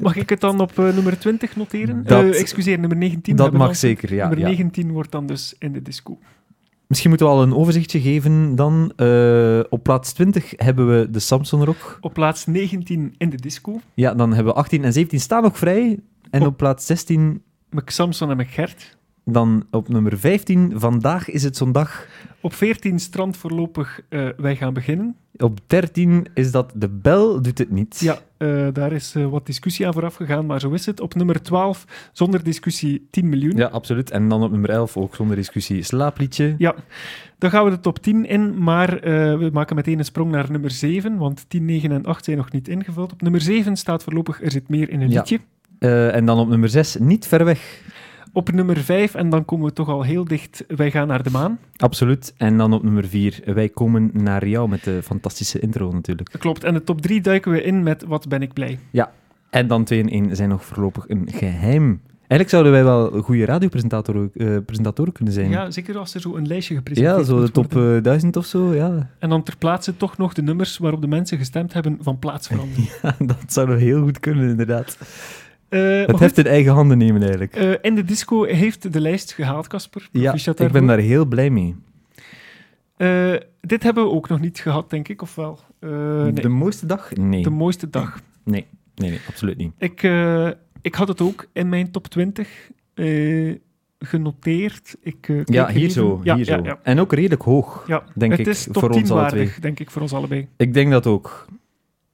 Speaker 2: Mag ik het dan op eh, nummer 20 noteren?
Speaker 1: Dat-
Speaker 2: Eh, excuseer, nummer 19.
Speaker 1: dat
Speaker 2: hebben we
Speaker 1: mag
Speaker 2: al.
Speaker 1: zeker, ja,
Speaker 2: nummer
Speaker 1: ja.
Speaker 2: 19 wordt dan dus in de disco.
Speaker 1: Misschien moeten we al een overzichtje geven dan. Eh, op plaats 20 hebben we de Samson Rock.
Speaker 2: Op plaats 19 in de disco.
Speaker 1: Ja, dan hebben we 18 en 17 staan nog vrij. En
Speaker 2: Oh.
Speaker 1: op plaats 16,
Speaker 2: McSamson en McGert.
Speaker 1: dan op nummer 15, Vandaag is het zondag.
Speaker 2: Op 14 strand voorlopig eh, Wij gaan beginnen.
Speaker 1: Op 13 is dat De Bel doet het niet.
Speaker 2: Ja, eh, daar is eh, wat discussie aan vooraf gegaan, maar zo is het. Op nummer 12, zonder discussie, 10 miljoen.
Speaker 1: Ja, absoluut. En dan op nummer 11, ook zonder discussie, Slaapliedje.
Speaker 2: Ja. Dan gaan we de top 10 in, maar eh, we maken meteen een sprong naar nummer 7, want 10, 9 en 8 zijn nog niet ingevuld. Op nummer 7 staat voorlopig Er zit meer in een
Speaker 1: Ja.
Speaker 2: liedje.
Speaker 1: Eh, en dan op nummer 6, Niet ver weg.
Speaker 2: Op nummer 5, en dan komen we toch al heel dicht, Wij gaan naar de maan.
Speaker 1: Absoluut. En dan op nummer 4, wij komen naar jou met de fantastische intro natuurlijk.
Speaker 2: Klopt, en de top 3 duiken we in met Wat ben ik blij.
Speaker 1: En dan 2 en 1 zijn nog voorlopig een geheim. Eigenlijk zouden wij wel goede radiopresentatoren eh, presentatoren kunnen zijn.
Speaker 2: Ja, zeker als er zo een lijstje gepresenteerd
Speaker 1: Ja, zo de
Speaker 2: moet
Speaker 1: top
Speaker 2: worden.
Speaker 1: eh, 1000 of zo. Ja.
Speaker 2: En dan ter plaatse toch nog de nummers waarop de mensen gestemd hebben van plaats veranderen.
Speaker 1: ja, dat zouden we heel goed kunnen inderdaad.
Speaker 2: Eh, maar
Speaker 1: Het
Speaker 2: goed,
Speaker 1: heft in eigen handen nemen eigenlijk.
Speaker 2: eh, in de disco heeft de lijst gehaald, Casper.
Speaker 1: Ja,
Speaker 2: Proficiat
Speaker 1: ik ben
Speaker 2: daarvoor.
Speaker 1: daar heel blij mee.
Speaker 2: Eh, dit hebben we ook nog niet gehad, denk ik, of wel? Eh, nee.
Speaker 1: De
Speaker 2: de...
Speaker 1: mooiste dag? Nee.
Speaker 2: mooiste dag.
Speaker 1: Nee. nee, nee, absoluut niet.
Speaker 2: Ik, eh, ik had het ook in mijn top 20 eh, genoteerd. Ik, eh, keek
Speaker 1: Ja, hier
Speaker 2: even-
Speaker 1: zo.
Speaker 2: Ja,
Speaker 1: hier
Speaker 2: ja,
Speaker 1: zo.
Speaker 2: Ja,
Speaker 1: En ook redelijk hoog,
Speaker 2: ja.
Speaker 1: denk
Speaker 2: het
Speaker 1: ik,
Speaker 2: is top
Speaker 1: voor
Speaker 2: 10
Speaker 1: ons alle
Speaker 2: waardig,
Speaker 1: twee.
Speaker 2: denk ik, voor ons allebei.
Speaker 1: Ik denk dat ook.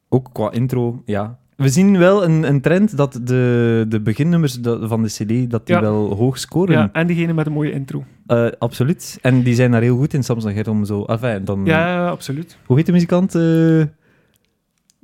Speaker 1: Ook qua intro, ja. We zien wel een, een trend dat de, de beginnummers da- van de CD dat die
Speaker 2: Ja.
Speaker 1: wel hoog scoren.
Speaker 2: Ja, en diegene met een mooie intro.
Speaker 1: Eh, absoluut. En die zijn daar ah, Hmm. heel goed in, Samson Gert, om zo... Enfin, dan,
Speaker 2: Ja, absoluut.
Speaker 1: Hoe heet de muzikant? eh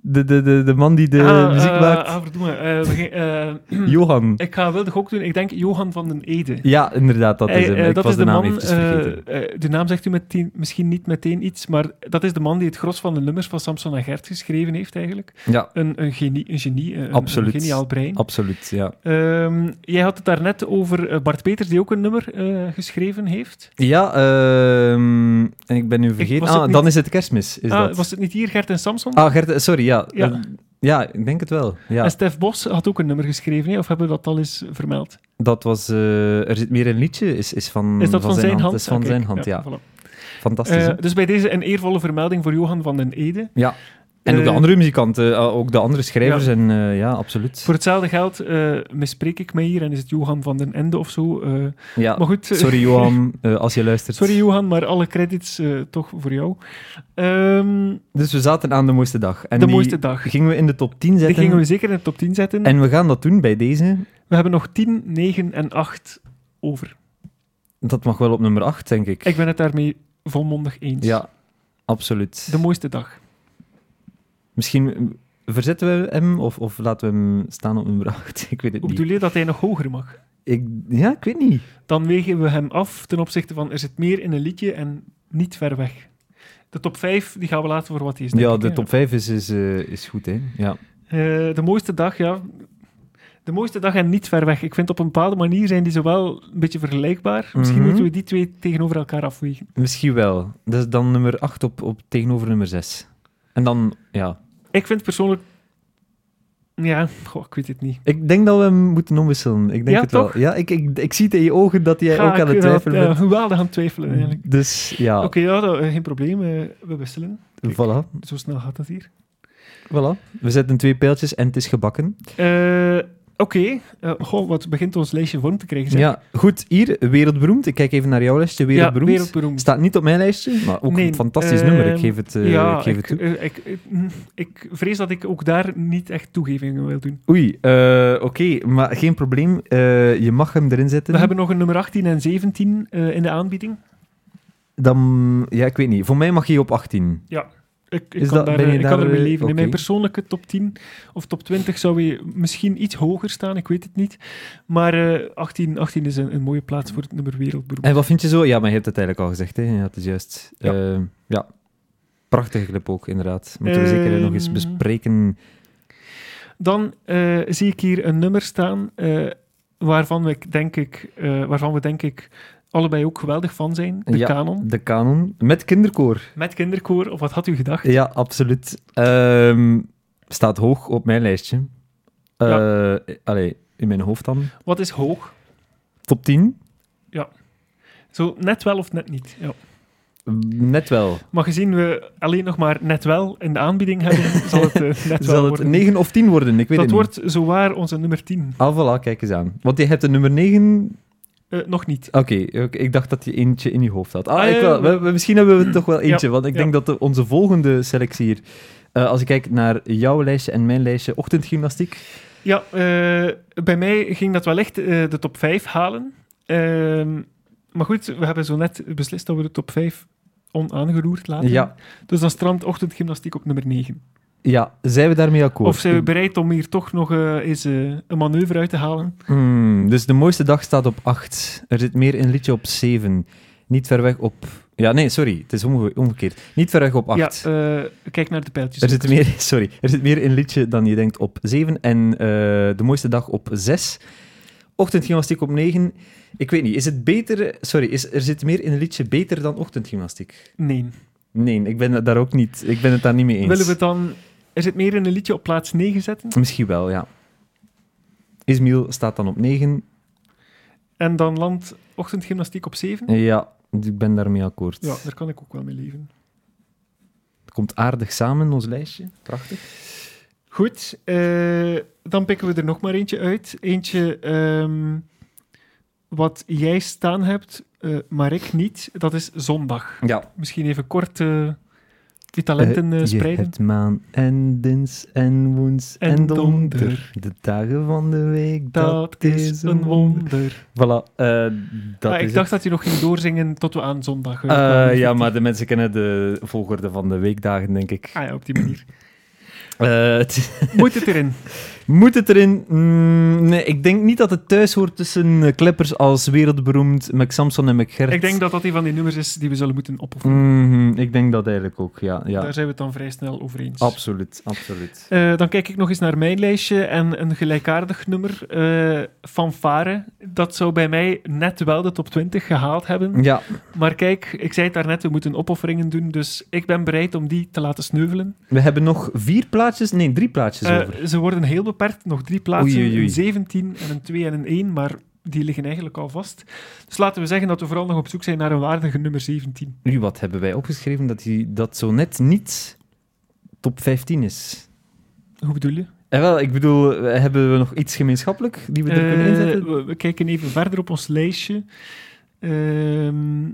Speaker 1: De, de, de, de man die de
Speaker 2: Ah,
Speaker 1: muziek
Speaker 2: eh,
Speaker 1: maakt.
Speaker 2: ah, verdomme. Eh, we gaan- eh,
Speaker 1: Johan.
Speaker 2: ik ga wel de gok doen. Ik denk Johan van den Ede.
Speaker 1: Ja, inderdaad, dat
Speaker 2: Hij,
Speaker 1: is hem.
Speaker 2: eh,
Speaker 1: Ik
Speaker 2: dat
Speaker 1: was
Speaker 2: is
Speaker 1: de, naam
Speaker 2: man,
Speaker 1: eventjes vergeten.
Speaker 2: eh, eh, de naam zegt u meteen, misschien niet meteen iets, maar dat is de man die het gros van de nummers van Samson en Gert geschreven heeft eigenlijk.
Speaker 1: Ja,
Speaker 2: Een, een genie, een, genie eh, een,
Speaker 1: Absoluut.
Speaker 2: een geniaal brein.
Speaker 1: absoluut, ja.
Speaker 2: Ehm, jij had het daarnet over eh, Bart Peters, die ook een nummer eh, geschreven heeft.
Speaker 1: Ja, ehm, en ik ben nu vergeten.
Speaker 2: was het
Speaker 1: ah,
Speaker 2: niet-
Speaker 1: dan is het kerstmis, is
Speaker 2: ah,
Speaker 1: dat.
Speaker 2: Was het niet hier, Gert en Samson?
Speaker 1: Ah, Gert, sorry, ja.
Speaker 2: Ja.
Speaker 1: Eh, ja, ik denk het wel. Ja.
Speaker 2: En Stef Bos had ook een nummer geschreven, hè? of hebben we dat al eens vermeld?
Speaker 1: Dat was... eh, er zit meer een liedje, is, is, Mm, van,
Speaker 2: Is dat van, zijn hand?
Speaker 1: Is van
Speaker 2: Ah, kijk,
Speaker 1: zijn hand, ja.
Speaker 2: voilà.
Speaker 1: Fantastisch, hè?
Speaker 2: Eh, dus bij deze een eervolle vermelding voor Johan van den Ede.
Speaker 1: Ja. En ook de
Speaker 2: eh,
Speaker 1: andere muzikanten, ah, ook de andere schrijvers.
Speaker 2: ja.
Speaker 1: En eh, ja, absoluut.
Speaker 2: Voor hetzelfde geld eh, misspreek ik mij hier en is het Johan van den Ende of zo. eh.
Speaker 1: Ja.
Speaker 2: maar goed, eh,
Speaker 1: Ah, Sorry, Johan, eh, als je luistert.
Speaker 2: sorry Johan, maar alle credits eh, toch voor jou. Ehm,
Speaker 1: Dus we zaten aan de mooiste dag. En
Speaker 2: de
Speaker 1: die
Speaker 2: mooiste dag.
Speaker 1: gingen we in de top 10
Speaker 2: Die
Speaker 1: zetten.
Speaker 2: gingen we zeker in de top 10 zetten.
Speaker 1: En we gaan dat doen bij deze.
Speaker 2: We hebben nog 10, 9 en 8 over.
Speaker 1: Dat mag wel op nummer 8, denk ik.
Speaker 2: Ik ben het daarmee volmondig eens.
Speaker 1: Ja, absoluut.
Speaker 2: De mooiste dag.
Speaker 1: Misschien eh, verzetten we hem of, of laten we hem staan op nummer 8. Ik weet het
Speaker 2: Hoe
Speaker 1: niet.
Speaker 2: bedoel je dat hij nog hoger mag?
Speaker 1: Ik, ja, ik weet niet.
Speaker 2: Dan wegen we hem af ten opzichte van er zit meer in een liedje en niet ver weg. De top 5 die gaan we laten voor wat die is. Dus denk
Speaker 1: Ja,
Speaker 2: ik,
Speaker 1: de
Speaker 2: hè.
Speaker 1: top 5 is, is, eh, is goed, hè? Ja.
Speaker 2: Eh, de mooiste dag, ja. De mooiste dag en niet ver weg. Ik vind op een bepaalde manier zijn die zowel een beetje vergelijkbaar. Misschien
Speaker 1: Mhm.
Speaker 2: moeten we die twee tegenover elkaar afwegen.
Speaker 1: Misschien wel. Dat is dan nummer 8 op, op, tegenover nummer 6. En dan, ja.
Speaker 2: Ik vind persoonlijk... Ja, goh, ik weet het niet.
Speaker 1: Ik denk dat we hem moeten omwisselen. Ik denk
Speaker 2: Ja,
Speaker 1: het
Speaker 2: toch?
Speaker 1: wel. Ja, ik, ik, ik zie het in je ogen dat jij ook aan het twijfelen
Speaker 2: Ja,
Speaker 1: bent.
Speaker 2: geweldig aan het twijfelen, eigenlijk.
Speaker 1: Dus ja,
Speaker 2: Oké, ja, dat- eh, geen probleem. eh, we wisselen.
Speaker 1: voilà,
Speaker 2: Zo snel gaat dat hier.
Speaker 1: voilà. We zetten twee pijltjes en het is gebakken.
Speaker 2: Eh, Oké. Eh, goh, wat begint ons lijstje vorm te krijgen. zeg.
Speaker 1: Ja, goed. Hier, wereldberoemd. Ik kijk even naar jouw lijstje,
Speaker 2: Ja,
Speaker 1: wereldberoemd.
Speaker 2: wereldberoemd.
Speaker 1: Staat niet op mijn lijstje, maar ook
Speaker 2: Nee,
Speaker 1: een fantastisch
Speaker 2: ehm,
Speaker 1: nummer. Ik geef het, eh,
Speaker 2: ja,
Speaker 1: ik geef
Speaker 2: ik,
Speaker 1: het toe.
Speaker 2: eh, ik, eh, mm, ik vrees dat ik ook daar niet echt toegevingen wil doen.
Speaker 1: Oei, eh, oké, maar geen probleem. Eh, je mag hem erin zetten.
Speaker 2: We hebben nog een nummer 18 en 17 eh, in de aanbieding.
Speaker 1: Dan, ja, ik weet niet. Voor mij mag je op 18.
Speaker 2: Ik, ik
Speaker 1: Is
Speaker 2: kan,
Speaker 1: dat-
Speaker 2: daar,
Speaker 1: ben je
Speaker 2: ik
Speaker 1: daar,
Speaker 2: kan ermee
Speaker 1: eh,
Speaker 2: leven.
Speaker 1: oké.
Speaker 2: In mijn persoonlijke top 10 of top 20 zou je misschien iets hoger staan, ik weet het niet. Maar eh, 18, 18 is een, een mooie plaats voor het nummer wereldberoemd.
Speaker 1: En wat vind je zo? Ja, maar je hebt het eigenlijk al gezegd, hè? Ja, het is juist.
Speaker 2: Ja.
Speaker 1: Eh, ja. Prachtige clip ook, inderdaad. Moeten we zeker nog eens
Speaker 2: Ehm,
Speaker 1: bespreken.
Speaker 2: Dan eh, zie ik hier een nummer staan eh, waarvan, we, denk ik, eh, waarvan we denk ik allebei ook geweldig van zijn. De
Speaker 1: Ja.
Speaker 2: kanon.
Speaker 1: De kanon. Met kinderkoor.
Speaker 2: Met kinderkoor, of wat had u gedacht?
Speaker 1: Ja, absoluut. Ehm, staat hoog op mijn lijstje. Eh, Allee, in mijn hoofd dan.
Speaker 2: Wat is hoog?
Speaker 1: Top 10?
Speaker 2: Zo net wel of net niet. Ja.
Speaker 1: Net wel.
Speaker 2: Maar gezien we alleen nog maar net wel in de aanbieding hebben, zal het eh, net wel
Speaker 1: Zal het
Speaker 2: worden.
Speaker 1: 9 of 10 worden? Ik weet
Speaker 2: dat
Speaker 1: het
Speaker 2: wordt zowaar onze nummer 10.
Speaker 1: niet. Ah, voilà, kijk eens aan. Want je hebt de nummer 9.
Speaker 2: Eh, nog niet.
Speaker 1: Oké, oké, ik dacht dat je eentje in je hoofd had. Ah,
Speaker 2: Ah,
Speaker 1: ik
Speaker 2: ja,
Speaker 1: wel.
Speaker 2: ja.
Speaker 1: We- we- misschien hebben we er toch wel eentje. want ik
Speaker 2: ja.
Speaker 1: denk dat de- onze volgende selectie hier. eh, als ik kijk naar jouw lijstje en mijn lijstje, ochtendgymnastiek.
Speaker 2: Ja, eh, bij mij ging dat wel echt eh, de top 5 halen. Ehm, maar goed, we hebben zo net beslist dat we de top 5 onaangeroerd laten.
Speaker 1: Ja.
Speaker 2: Dus dan strandt ochtendgymnastiek op nummer 9.
Speaker 1: Ja, zijn we daarmee akkoord?
Speaker 2: Of zijn we
Speaker 1: Ik-
Speaker 2: bereid om hier toch nog eh, eens eh, een manoeuvre uit te halen?
Speaker 1: Hmm, dus de mooiste dag staat op 8. Er zit meer een liedje op 7. Niet ver weg op. Ja, nee, sorry. Het is omge- omgekeerd. Niet ver weg op 8.
Speaker 2: Ja, eh, kijk naar de pijltjes.
Speaker 1: er zit meer, sorry. Er zit meer een liedje dan je denkt op 7. En eh, de mooiste dag op 6. Ochtendgymnastiek op 9. Ik weet niet. Is het beter. Sorry, is, er zit meer in een liedje beter dan ochtendgymnastiek?
Speaker 2: Nee.
Speaker 1: Nee, ik ben het daar ook niet. Ik ben het daar niet mee eens.
Speaker 2: Willen we het dan... Er zit meer in een liedje op plaats 9 zetten.
Speaker 1: Misschien wel, ja. Ismail staat dan op 9.
Speaker 2: En dan landt ochtendgymnastiek op 7.
Speaker 1: Ja, ik ben daarmee akkoord.
Speaker 2: Ja, daar kan ik ook wel mee leven.
Speaker 1: Het komt aardig samen, ons lijstje. Prachtig.
Speaker 2: Goed, eh, dan pikken we er nog maar eentje uit. Eentje ehm, wat jij staan hebt, eh, maar ik niet. Dat is zondag.
Speaker 1: Ja.
Speaker 2: Misschien even kort eh, die talenten eh,
Speaker 1: je
Speaker 2: spreiden.
Speaker 1: hebt maan en dins en woens en,
Speaker 2: En
Speaker 1: donder.
Speaker 2: donder.
Speaker 1: De dagen van de week, dat,
Speaker 2: Dat is een wonder.
Speaker 1: Voilà, eh, dat
Speaker 2: Ah,
Speaker 1: is
Speaker 2: ik dacht dat je nog ging doorzingen tot we aan zondag
Speaker 1: het.
Speaker 2: eh,
Speaker 1: Eh,
Speaker 2: kwamen.
Speaker 1: ja, maar de mensen kennen de volgorde van de weekdagen, denk ik.
Speaker 2: Ah ja, op die manier.
Speaker 1: Eh, het-
Speaker 2: Moet het erin?
Speaker 1: moet het erin? Mm, nee, ik denk niet dat het thuis hoort tussen eh, kleppers als wereldberoemd Mac Samson en Mac Gert.
Speaker 2: Ik denk dat dat een van die nummers is die we zullen moeten opofferen.
Speaker 1: Mhm, ik denk dat eigenlijk ook, ja. ja.
Speaker 2: Daar zijn we het dan vrij snel over eens.
Speaker 1: Absoluut, absoluut.
Speaker 2: Eh, dan kijk ik nog eens naar mijn lijstje en een gelijkaardig nummer, eh Fanfare. Dat zou bij mij net wel de top 20 gehaald hebben.
Speaker 1: Ja,
Speaker 2: Maar kijk, ik zei het daarnet, we moeten opofferingen doen, dus ik ben bereid om die te laten sneuvelen.
Speaker 1: we hebben nog vier plaatjes, nee, drie plaatjes
Speaker 2: Eh,
Speaker 1: over.
Speaker 2: ze worden heel beperkt, nog drie plaatsen,
Speaker 1: Oei, oei, oei.
Speaker 2: een 17 en een 2 en een 1, maar die liggen eigenlijk al vast. Dus laten we zeggen dat we vooral nog op zoek zijn naar een waardige nummer 17.
Speaker 1: Nu, wat hebben wij opgeschreven? Dat die, dat zo net niet top 15 is.
Speaker 2: Hoe bedoel je?
Speaker 1: Eh, wel, ik bedoel, eh, hebben we nog iets gemeenschappelijk die we er kunnen
Speaker 2: Eh,
Speaker 1: inzetten?
Speaker 2: we, we kijken even verder op ons lijstje. Ehm,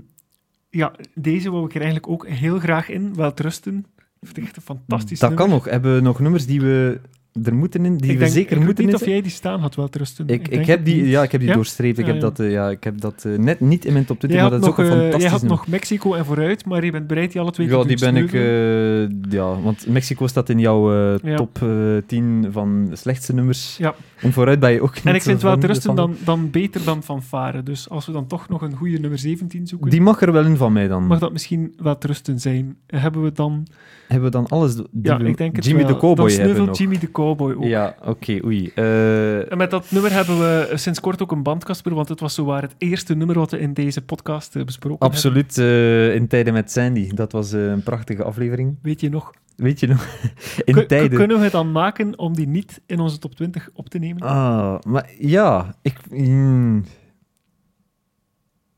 Speaker 2: ja, deze wou ik er eigenlijk ook heel graag in. Wel trusten. Vind ik echt een fantastisch
Speaker 1: Dat
Speaker 2: nummer.
Speaker 1: kan nog. Hebben we nog nummers die we er moeten in, die
Speaker 2: ik
Speaker 1: we
Speaker 2: denk,
Speaker 1: zeker
Speaker 2: ik weet
Speaker 1: moeten
Speaker 2: niet
Speaker 1: in?
Speaker 2: of jij die staan had, wel trusten.
Speaker 1: Ik, ik,
Speaker 2: denk
Speaker 1: heb
Speaker 2: het
Speaker 1: die,
Speaker 2: niet.
Speaker 1: ja, ik heb die
Speaker 2: Ja?
Speaker 1: doorstreept. Ik
Speaker 2: Ja,
Speaker 1: heb
Speaker 2: ja.
Speaker 1: dat, eh, ja, ik heb dat eh, net niet in mijn top 20,
Speaker 2: Jij had,
Speaker 1: maar dat is
Speaker 2: nog,
Speaker 1: ook een
Speaker 2: eh, jij
Speaker 1: fantastisch
Speaker 2: had
Speaker 1: nummer.
Speaker 2: nog Mexico en vooruit, maar je bent bereid die alle twee te
Speaker 1: Ja,
Speaker 2: doen
Speaker 1: die ben ik...
Speaker 2: sneuvelen.
Speaker 1: eh, ja, want Mexico staat in jouw eh,
Speaker 2: Ja.
Speaker 1: top eh, 10 van slechtste nummers.
Speaker 2: Ja.
Speaker 1: En vooruit ben je ook niet
Speaker 2: en ik vind
Speaker 1: zo
Speaker 2: wel
Speaker 1: van-
Speaker 2: trusten
Speaker 1: van-
Speaker 2: dan, dan beter dan fanfare. Dus als we dan toch nog een goede nummer 17 zoeken,
Speaker 1: Die mag er wel in van mij dan.
Speaker 2: mag dat misschien wel trusten zijn. Hebben we dan...
Speaker 1: Hebben we dan alles... Die
Speaker 2: Ja,
Speaker 1: we-
Speaker 2: ik denk het
Speaker 1: Jimmy
Speaker 2: wel.
Speaker 1: de Cowboy
Speaker 2: Dan
Speaker 1: hebben
Speaker 2: sneuvelt
Speaker 1: nog.
Speaker 2: Jimmy de Cowboy ook.
Speaker 1: Ja, oké, oei. Eh,
Speaker 2: En met dat nummer hebben we eh, sinds kort ook een band, Casper, want het was zowaar het eerste nummer wat we in deze podcast eh, besproken hebben.
Speaker 1: absoluut, eh, In Tijden met Sandy. Dat was eh, een prachtige aflevering.
Speaker 2: Weet je nog?
Speaker 1: Weet je nog? In
Speaker 2: Kun- kun-
Speaker 1: Tijden...
Speaker 2: Kunnen we het dan maken om die niet in onze top 20 op te nemen?
Speaker 1: Ah, maar ja, ik. mm.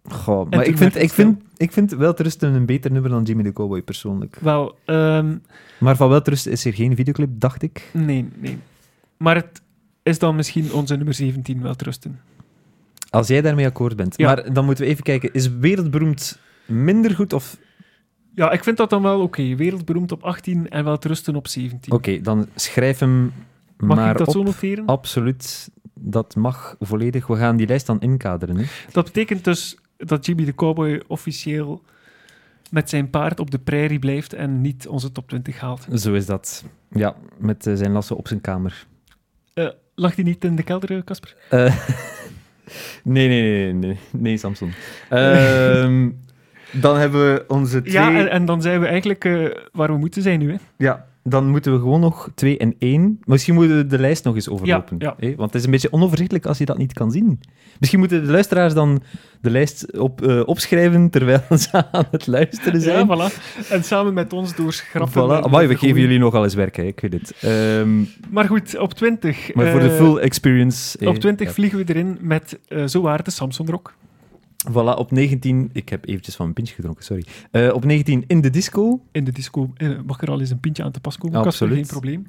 Speaker 1: Goh,
Speaker 2: toen
Speaker 1: maar ik
Speaker 2: werd
Speaker 1: vind,
Speaker 2: het
Speaker 1: ik, vind, ik vind Welterusten een beter nummer dan Jimmy de Cowboy persoonlijk.
Speaker 2: Wel, ehm,
Speaker 1: Maar van Welterusten is er geen videoclip, dacht ik.
Speaker 2: nee, nee. Maar het is dan misschien onze nummer 17 wel trusten.
Speaker 1: Als jij daarmee akkoord bent.
Speaker 2: Ja.
Speaker 1: Maar dan moeten we even kijken: is wereldberoemd minder goed of.
Speaker 2: Ja, ik vind dat dan wel oké. Wereldberoemd op 18 en wel trusten op 17.
Speaker 1: Oké, dan schrijf hem
Speaker 2: Mag
Speaker 1: maar
Speaker 2: ik dat
Speaker 1: op.
Speaker 2: zo noteren?
Speaker 1: Absoluut, dat mag volledig. We gaan die lijst dan inkaderen. Hè?
Speaker 2: Dat betekent dus dat Jimmy de Cowboy officieel met zijn paard op de prairie blijft en niet onze top 20 haalt.
Speaker 1: Zo is dat. Ja, met eh, zijn lassen op zijn kamer.
Speaker 2: Eh, lag die niet in de kelder, eh, Casper?
Speaker 1: Eh, nee, nee, nee, nee, nee, Samson. Ehm, dan hebben we onze twee...
Speaker 2: Ja, en, en dan zijn we eigenlijk eh, waar we moeten zijn nu. Hè.
Speaker 1: Ja, dan moeten we gewoon nog twee en één... Misschien moeten we de lijst nog eens overlopen.
Speaker 2: Ja,
Speaker 1: Hè? Want het is een beetje onoverzichtelijk als je dat niet kan zien. Misschien moeten de luisteraars dan de lijst op, eh, opschrijven terwijl ze aan het luisteren zijn.
Speaker 2: Ja, voilà. En samen met ons doorschrappen.
Speaker 1: Voilà.
Speaker 2: en-
Speaker 1: Amai, we geven
Speaker 2: gooien.
Speaker 1: jullie nogal eens werk, hè. ik weet het. Ehm,
Speaker 2: Maar goed, op 20.
Speaker 1: maar voor de
Speaker 2: eh,
Speaker 1: full experience... eh,
Speaker 2: Op 20
Speaker 1: ja.
Speaker 2: vliegen we erin met eh zo waar de Samson Rock.
Speaker 1: Voilà, op 19... Ik heb eventjes van mijn pintje gedronken, sorry. Eh, op 19 in de disco.
Speaker 2: In de disco eh, mag er al eens een pintje aan te pas komen. Casper,
Speaker 1: Absoluut.
Speaker 2: geen probleem.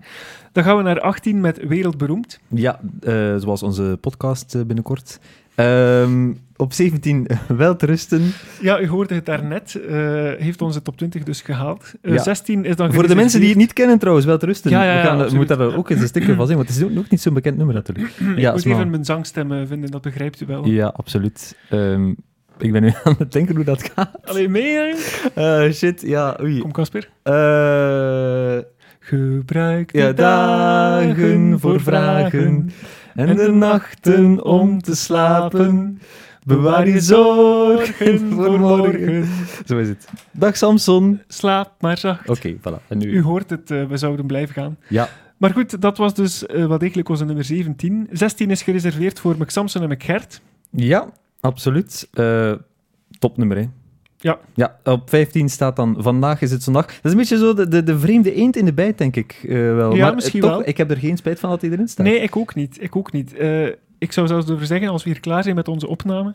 Speaker 2: Dan gaan we naar 18 met Wereldberoemd.
Speaker 1: Ja, eh, zoals onze podcast eh, binnenkort. Ehm, op 17 welterusten.
Speaker 2: Ja, u hoorde het daarnet. eh heeft onze top 20 dus gehaald. Eh,
Speaker 1: Ja.
Speaker 2: 16 is dan
Speaker 1: Voor de mensen die het
Speaker 2: gereserveerd-
Speaker 1: niet kennen trouwens, welterusten.
Speaker 2: Ja, ja,
Speaker 1: we
Speaker 2: ja,
Speaker 1: gaan, we
Speaker 2: absoluut.
Speaker 1: moeten daar ook eens een stukje van zien, want het is ook, ook niet zo'n bekend nummer natuurlijk.
Speaker 2: Ik
Speaker 1: ja,
Speaker 2: moet
Speaker 1: is maar-
Speaker 2: even mijn zangstem eh, vinden, dat begrijpt u wel.
Speaker 1: ja, absoluut. Ehm, ik ben nu aan het denken hoe dat gaat.
Speaker 2: Allee, mee. hè?
Speaker 1: Eh, shit, ja, oei.
Speaker 2: Kom, Casper.
Speaker 1: Eh,
Speaker 2: Gebruik de
Speaker 1: Ja, dagen voor vragen en de nachten om te slapen. Bewaar je zorgen voor morgen. Zo is het. Dag Samson.
Speaker 2: Slaap maar zacht.
Speaker 1: Oké, voilà. En
Speaker 2: U
Speaker 1: nu...
Speaker 2: hoort het, eh, we zouden blijven gaan.
Speaker 1: Ja,
Speaker 2: Maar goed, dat was dus eh, wel degelijk onze nummer 17. 16 is gereserveerd voor McSamson en McGert.
Speaker 1: Ja, absoluut. Eh, topnummer, hè?
Speaker 2: Ja.
Speaker 1: ja. Op 15 staat dan Vandaag is het zondag. Dat is een beetje zo de, de, de vreemde eend in de bijt, denk ik eh, wel.
Speaker 2: Ja,
Speaker 1: maar, eh,
Speaker 2: misschien
Speaker 1: toch,
Speaker 2: wel.
Speaker 1: Ik heb er geen spijt van dat hij erin staat.
Speaker 2: Nee, ik ook niet. Ik ook niet. Eh, ik zou zelfs durven zeggen, als we hier klaar zijn met onze opname,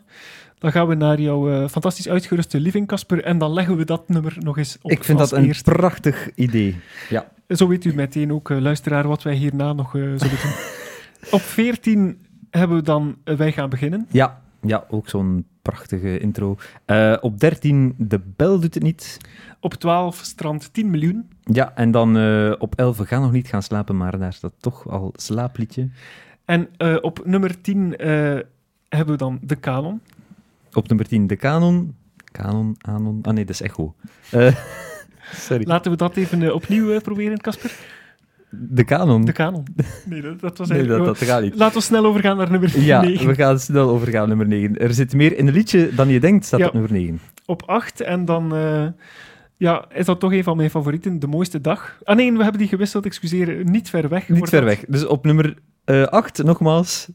Speaker 2: dan gaan we naar jouw eh, fantastisch uitgeruste living, Casper, en dan leggen we dat nummer nog eens op
Speaker 1: ik vind
Speaker 2: als
Speaker 1: dat een
Speaker 2: eerste.
Speaker 1: prachtig idee.
Speaker 2: Zo weet u meteen ook, eh, luisteraar, wat wij hierna nog eh, zullen doen. op 14 hebben we dan eh, Wij gaan beginnen.
Speaker 1: Ja, ja ook zo'n prachtige intro. Eh, op 13, De Bel doet het niet.
Speaker 2: Op 12 strand 10 miljoen.
Speaker 1: Ja, en dan eh, op 11, We gaan nog niet gaan slapen, maar daar staat toch al slaapliedje.
Speaker 2: En eh, op nummer 10 eh, hebben we dan de kanon.
Speaker 1: Op nummer 10, De Canon. Canon, Anon. Ah nee, dat is Echo. Eh, sorry.
Speaker 2: Laten we dat even eh, opnieuw eh, proberen, Casper.
Speaker 1: De kanon.
Speaker 2: De kanon. Nee, dat, dat was
Speaker 1: Nee,
Speaker 2: eigenlijk...
Speaker 1: dat, dat gaat niet.
Speaker 2: Laten we snel overgaan naar nummer 9.
Speaker 1: Ja, we gaan snel overgaan naar nummer 9. Er zit meer in een liedje dan je denkt, staat
Speaker 2: Ja.
Speaker 1: op nummer 9.
Speaker 2: Op 8 en dan... eh, ja, is dat toch een van mijn favorieten? De mooiste dag. Ah nee, we hebben die gewisseld, excuseer. Niet ver weg.
Speaker 1: Niet
Speaker 2: wordt
Speaker 1: ver
Speaker 2: dat.
Speaker 1: weg. Dus op nummer 8, nogmaals,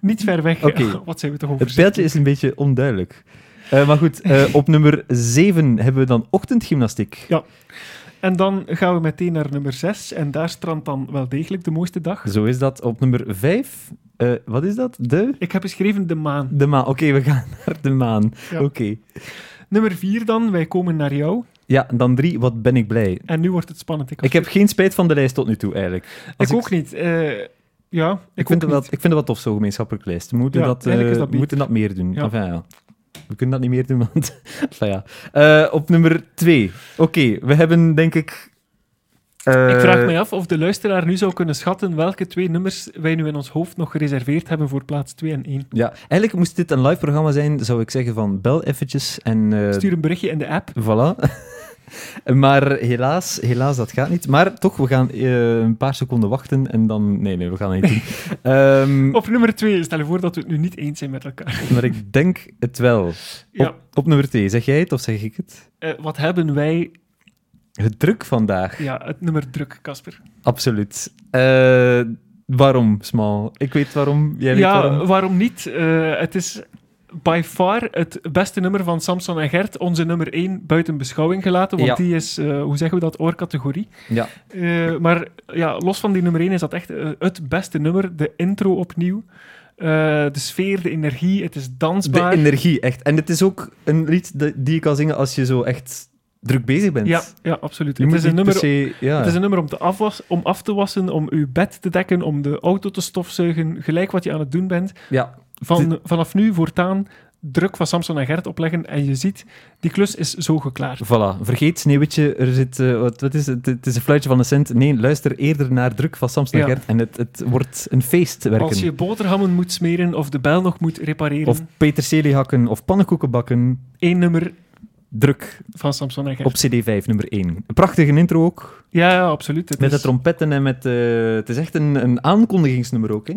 Speaker 2: Niet ver weg.
Speaker 1: Oké.
Speaker 2: Wat zijn we toch over?
Speaker 1: Het pijltje is een beetje onduidelijk. Eh, maar goed, eh, op nummer 7 hebben we dan ochtendgymnastiek.
Speaker 2: En dan gaan we meteen naar nummer 6. En daar strandt dan wel degelijk de mooiste dag.
Speaker 1: Zo is dat. Op nummer 5, eh, wat is dat? De?
Speaker 2: Ik heb geschreven de maan.
Speaker 1: De maan. Oké, we gaan naar de maan.
Speaker 2: Ja.
Speaker 1: Oké.
Speaker 2: Nummer 4 dan, wij komen naar jou.
Speaker 1: Ja, en dan 3, wat ben ik blij.
Speaker 2: En nu wordt het spannend. Ik,
Speaker 1: Ik heb geen spijt van de lijst tot nu toe, eigenlijk.
Speaker 2: ik
Speaker 1: Als
Speaker 2: ook niet. Eh, ja, ik,
Speaker 1: Ik vind, dat,
Speaker 2: ook niet.
Speaker 1: wel- ik vind dat wel tof, zo'n gemeenschappelijk lijst. We moeten,
Speaker 2: Ja,
Speaker 1: dat, eh,
Speaker 2: eigenlijk is dat
Speaker 1: we moeten dat meer doen.
Speaker 2: Ja.
Speaker 1: Enfin, ja. We kunnen dat niet meer doen, want... enfin, ja. Eh, op nummer 2. Oké, we hebben denk ik...
Speaker 2: Ik vraag
Speaker 1: eh,
Speaker 2: mij af of de luisteraar nu zou kunnen schatten welke twee nummers wij nu in ons hoofd nog gereserveerd hebben voor plaats 2 en 1.
Speaker 1: Ja, eigenlijk moest dit een live programma zijn, zou ik zeggen van bel eventjes en... eh,
Speaker 2: Stuur een berichtje in de app.
Speaker 1: Voilà. maar helaas, helaas, dat gaat niet. Maar toch, we gaan eh, een paar seconden wachten en dan... Nee, nee, we gaan dat niet doen. Ehm,
Speaker 2: Op nummer 2, stel je voor dat we het nu niet eens zijn met elkaar.
Speaker 1: Maar ik denk het wel.
Speaker 2: Ja.
Speaker 1: Op, op nummer 2, zeg jij het of zeg ik het?
Speaker 2: Eh, wat hebben wij...
Speaker 1: Het druk vandaag.
Speaker 2: Ja, het nummer druk, Casper.
Speaker 1: Absoluut. Eh, waarom, Smal? Ik weet waarom, jij weet
Speaker 2: ja,
Speaker 1: waarom.
Speaker 2: niet? Eh, het is by far het beste nummer van Samson en Gert. Onze nummer 1 buiten beschouwing gelaten, want
Speaker 1: Ja.
Speaker 2: die is, eh, hoe zeggen we dat, oorcategorie.
Speaker 1: Ja.
Speaker 2: Eh, maar ja, los van die nummer 1 is dat echt eh, het beste nummer. De intro opnieuw. Eh, de sfeer, de energie, het is
Speaker 1: De
Speaker 2: dansbaar.
Speaker 1: energie, echt. En het is ook een lied dat- die je kan zingen als je zo echt druk bezig bent.
Speaker 2: ja, ja, absoluut.
Speaker 1: Je
Speaker 2: Het
Speaker 1: moet
Speaker 2: is, een
Speaker 1: niet
Speaker 2: nummer,
Speaker 1: per se- ja.
Speaker 2: het is een nummer om, te afwas, om af te wassen, om uw bed te dekken, om de auto te stofzuigen, gelijk wat je aan het doen bent.
Speaker 1: ja.
Speaker 2: Van, vanaf nu voortaan druk van Samson en Gert opleggen en je ziet, die klus is zo geklaard.
Speaker 1: Voilà, vergeet Sneeuwwitje, er zit, eh, wat, wat is het? Het is een fluitje van een cent. Nee, luister eerder naar druk van Samson en
Speaker 2: Ja.
Speaker 1: Gert en het, het wordt een feest werken.
Speaker 2: Als je boterhammen moet smeren of de bel nog moet repareren,
Speaker 1: Of peterselie hakken of pannenkoeken bakken.
Speaker 2: één nummer
Speaker 1: Druk
Speaker 2: van Samson en Gert.
Speaker 1: op CD5 nummer 1. Een prachtige intro ook,
Speaker 2: Ja, ja, absoluut. Het
Speaker 1: met de
Speaker 2: is,
Speaker 1: trompetten en met... eh, het is echt een, een aankondigingsnummer ook, hè?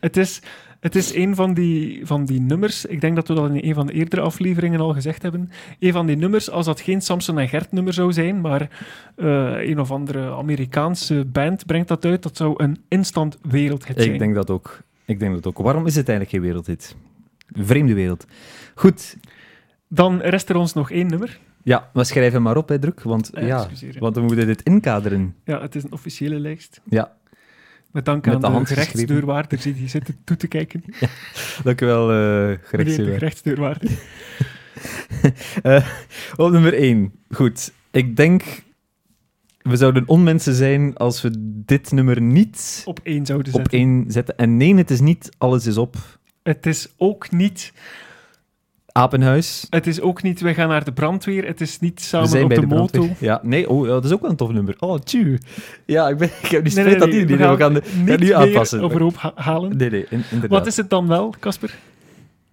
Speaker 2: het is, het is een van die, van die nummers, ik denk dat we dat in een van de eerdere afleveringen al gezegd hebben, een van die nummers, als dat geen Samson en Gert nummer zou zijn, maar eh, een of andere Amerikaanse band brengt dat uit, dat zou een instant wereldhit zijn.
Speaker 1: Ik denk dat ook. Ik denk dat ook. Waarom is het eigenlijk geen wereldhit? Een vreemde wereld. Goed,
Speaker 2: Dan rest er ons nog één nummer.
Speaker 1: ja, maar schrijf hem maar op, hè, druk, want,
Speaker 2: Eh,
Speaker 1: ja,
Speaker 2: excuseer, ja.
Speaker 1: want we moeten dit inkaderen.
Speaker 2: Ja, het is een officiële lijst.
Speaker 1: Ja.
Speaker 2: Met dank
Speaker 1: Met
Speaker 2: aan
Speaker 1: de
Speaker 2: de,
Speaker 1: hand
Speaker 2: gerechtsdeurwaarder die hier zit toe te kijken.
Speaker 1: Dankjewel, eh
Speaker 2: Meneer de
Speaker 1: gerechtsdeurwaarder.
Speaker 2: gerechtsdeurwaarder.
Speaker 1: Op nummer 1. Goed. Ik denk. We zouden onmensen zijn als we dit nummer niet
Speaker 2: Op één zouden
Speaker 1: op
Speaker 2: zetten.
Speaker 1: één zetten. En nee, het is niet Alles is op.
Speaker 2: Het is ook niet...
Speaker 1: Apenhuis.
Speaker 2: Het is ook niet... Wij gaan naar de brandweer. Het is niet
Speaker 1: We
Speaker 2: samen
Speaker 1: zijn
Speaker 2: op
Speaker 1: bij
Speaker 2: de,
Speaker 1: de,
Speaker 2: moto.
Speaker 1: brandweer. Ja, nee, oh, ja, dat is ook wel een tof nummer. Oh, tju. Ja, ik, ben, ik heb die
Speaker 2: Nee,
Speaker 1: spijt
Speaker 2: nee,
Speaker 1: dat
Speaker 2: nee,
Speaker 1: die
Speaker 2: we
Speaker 1: niet. We
Speaker 2: gaan
Speaker 1: gaan de,
Speaker 2: niet
Speaker 1: gaan die
Speaker 2: meer
Speaker 1: aanpassen.
Speaker 2: overhoop ha- halen.
Speaker 1: Nee, nee, in- inderdaad.
Speaker 2: Wat is het dan wel, Casper?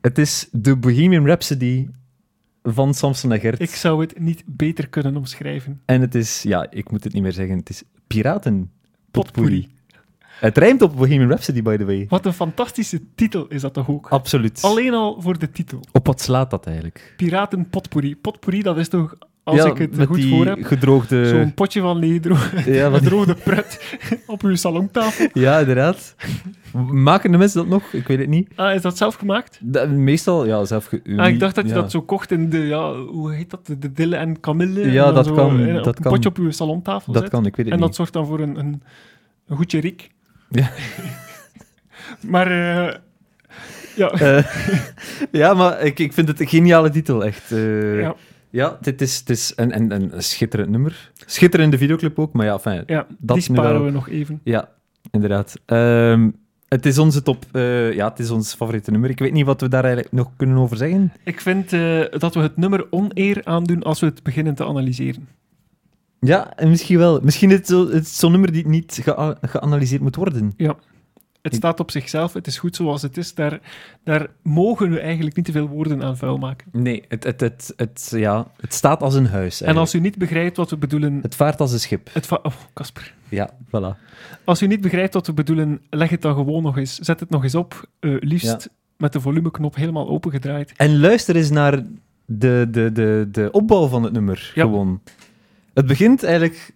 Speaker 1: Het is de Bohemian Rhapsody van Samson en Gert.
Speaker 2: Ik zou het niet beter kunnen omschrijven.
Speaker 1: En het is, ja, ik moet het niet meer zeggen. Het is Piraten.
Speaker 2: Potpourri.
Speaker 1: Het rijmt op Bohemian Rhapsody, by the way.
Speaker 2: Wat een fantastische titel is dat toch ook?
Speaker 1: Absoluut.
Speaker 2: Alleen al voor de titel.
Speaker 1: Op wat slaat dat eigenlijk?
Speaker 2: Piraten Potpourri. Potpourri, dat is toch... Als
Speaker 1: Ja,
Speaker 2: ik het
Speaker 1: met
Speaker 2: goed
Speaker 1: die
Speaker 2: voor heb...
Speaker 1: gedroogde...
Speaker 2: Zo'n potje van Ledro.
Speaker 1: Ja, wat-
Speaker 2: Met rode pret op uw salontafel.
Speaker 1: ja, inderdaad. Maken de mensen dat nog? Ik weet het niet.
Speaker 2: Ah, is dat zelf gemaakt?
Speaker 1: Da- meestal, ja, zelf... ge-
Speaker 2: Ah, ik dacht dat je
Speaker 1: ja.
Speaker 2: dat zo kocht in de, ja, hoe heet dat? De Dille en Camille.
Speaker 1: Ja,
Speaker 2: en dan
Speaker 1: dat
Speaker 2: zo
Speaker 1: kan,
Speaker 2: in-
Speaker 1: dat
Speaker 2: op een
Speaker 1: kan.
Speaker 2: potje op uw salontafel
Speaker 1: Dat
Speaker 2: zet.
Speaker 1: kan, ik weet het
Speaker 2: En dat
Speaker 1: niet.
Speaker 2: zorgt dan voor een, een, een goedje riek.
Speaker 1: Ja.
Speaker 2: maar, eh, ja.
Speaker 1: Ja, maar ik, ik vind het een geniale titel, echt. eh.
Speaker 2: Ja.
Speaker 1: ja. dit is, het is een, een, een een schitterend nummer. Schitterende videoclip ook, maar ja, fijn.
Speaker 2: ja,
Speaker 1: dat
Speaker 2: die
Speaker 1: nu wel.
Speaker 2: sparen we nog even.
Speaker 1: Ja, inderdaad. Ehm, het is onze top... eh, ja, het is ons favoriete nummer. Ik weet niet wat we daar eigenlijk nog kunnen over zeggen.
Speaker 2: Ik vind eh, dat we het nummer oneer aandoen als we het beginnen te analyseren.
Speaker 1: Ja, en misschien wel. Misschien is het zo- het is zo'n nummer die niet gea- geanalyseerd moet worden.
Speaker 2: Het staat op zichzelf, het is goed zoals het is. Daar, daar mogen we eigenlijk niet te veel woorden aan vuil maken.
Speaker 1: Nee, het, het, het, het, ja, het staat als een huis.
Speaker 2: En
Speaker 1: eigenlijk.
Speaker 2: als u niet begrijpt wat we bedoelen...
Speaker 1: Het vaart als een schip.
Speaker 2: Het va- oh, Kasper.
Speaker 1: Ja, voilà.
Speaker 2: Als u niet begrijpt wat we bedoelen, leg het dan gewoon nog eens. Zet het nog eens op, eh, liefst met de volumeknop helemaal opengedraaid.
Speaker 1: En luister eens naar de, de, de, de opbouw van het nummer.
Speaker 2: Ja.
Speaker 1: Gewoon. Het begint eigenlijk.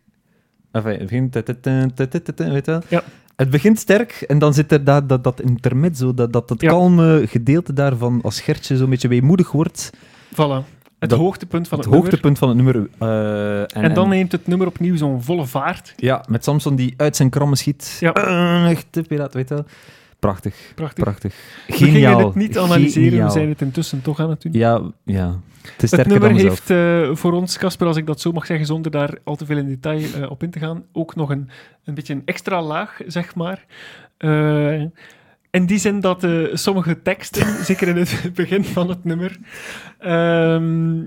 Speaker 1: Enfin, het begint. ta- ta- ta- ta- ta- ta- ta- Weet je wel?
Speaker 2: Ja.
Speaker 1: Het begint sterk en dan zit er dat, dat, dat intermezzo, dat, dat, dat
Speaker 2: Ja.
Speaker 1: kalme gedeelte daarvan als Gertje zo'n beetje weemoedig wordt.
Speaker 2: Voilà. Het
Speaker 1: Dat-
Speaker 2: hoogtepunt van
Speaker 1: het
Speaker 2: het, nummer.
Speaker 1: hoogtepunt van het nummer. eh, en,
Speaker 2: En dan
Speaker 1: en-
Speaker 2: neemt het nummer opnieuw zo'n volle vaart.
Speaker 1: ja, met Samson die uit zijn krammen schiet.
Speaker 2: Ja.
Speaker 1: Eh, echt de piraat, weet je wel? Prachtig,
Speaker 2: Prachtig.
Speaker 1: prachtig.
Speaker 2: we
Speaker 1: Geniaal.
Speaker 2: gingen het niet analyseren,
Speaker 1: Geniaal.
Speaker 2: we zijn het intussen toch aan het doen.
Speaker 1: Ja, ja. Het is
Speaker 2: Het
Speaker 1: sterker
Speaker 2: nummer
Speaker 1: dan mezelf.
Speaker 2: heeft eh, voor ons, Casper, als ik dat zo mag zeggen, zonder daar al te veel in detail eh, op in te gaan, ook nog een, een beetje een extra laag, zeg maar. Eh, in die zin dat eh, sommige teksten, zeker in het begin van het nummer, ehm,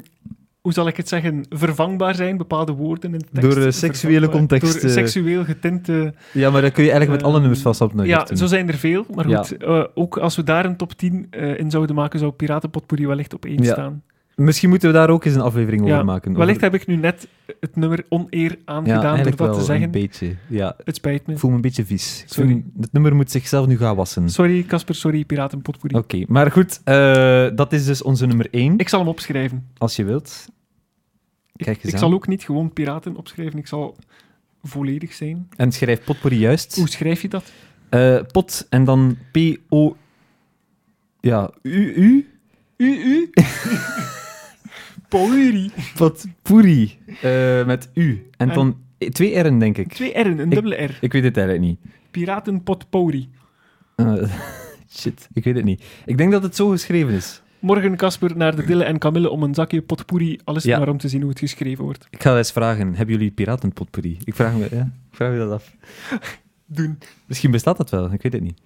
Speaker 2: hoe zal ik het zeggen, vervangbaar zijn, bepaalde woorden in de tekst.
Speaker 1: Door, eh, seksuele
Speaker 2: vervangbaar.
Speaker 1: context,
Speaker 2: Door
Speaker 1: eh.
Speaker 2: seksueel getinte...
Speaker 1: Ja, maar dat kun je eigenlijk met alle
Speaker 2: Eh,
Speaker 1: nummers vast op
Speaker 2: ja, zo zijn er veel, maar
Speaker 1: Ja.
Speaker 2: goed, eh, ook als we daar een top 10 eh, in zouden maken, zou Piratenpotpourri wellicht op één
Speaker 1: Ja.
Speaker 2: staan.
Speaker 1: Misschien moeten we daar ook eens een aflevering
Speaker 2: Ja,
Speaker 1: over maken. Over-
Speaker 2: Wellicht heb ik nu net het nummer oneer
Speaker 1: ja,
Speaker 2: aangedaan door
Speaker 1: eigenlijk
Speaker 2: dat
Speaker 1: wel
Speaker 2: te
Speaker 1: Een
Speaker 2: zeggen.
Speaker 1: beetje. Ja,
Speaker 2: Het spijt me.
Speaker 1: ik voel me een beetje vies. Ik
Speaker 2: Sorry.
Speaker 1: vind- het nummer moet zichzelf nu gaan wassen. Oké,
Speaker 2: Sorry, Casper, sorry, Piratenpotpourri.
Speaker 1: maar goed, eh, dat is dus onze nummer 1,
Speaker 2: Ik zal hem opschrijven.
Speaker 1: als je wilt.
Speaker 2: Ik,
Speaker 1: Kijk eens
Speaker 2: ik
Speaker 1: aan.
Speaker 2: zal ook niet gewoon piraten opschrijven, ik zal volledig zijn.
Speaker 1: En schrijf potpourri juist.
Speaker 2: Hoe schrijf je dat?
Speaker 1: Eh, pot en dan P-O... Ja, U-U?
Speaker 2: U-U? Potpourri.
Speaker 1: Potpourri. Eh, met U. En,
Speaker 2: En-
Speaker 1: dan twee R'en, denk ik.
Speaker 2: Twee R'en, een dubbele R.
Speaker 1: Ik weet het eigenlijk niet.
Speaker 2: Piratenpotpourri.
Speaker 1: Eh, shit, ik weet het niet. Ik denk dat het zo geschreven is.
Speaker 2: Morgen, Casper, naar de Dille en Camille om een zakje potpourri. Alles
Speaker 1: Ja.
Speaker 2: maar om te zien hoe het geschreven wordt.
Speaker 1: Ik ga eens vragen, hebben jullie piratenpotpourri? Ik vraag me, ja, ik vraag me dat af.
Speaker 2: Doen.
Speaker 1: Misschien bestaat dat wel, ik weet het niet.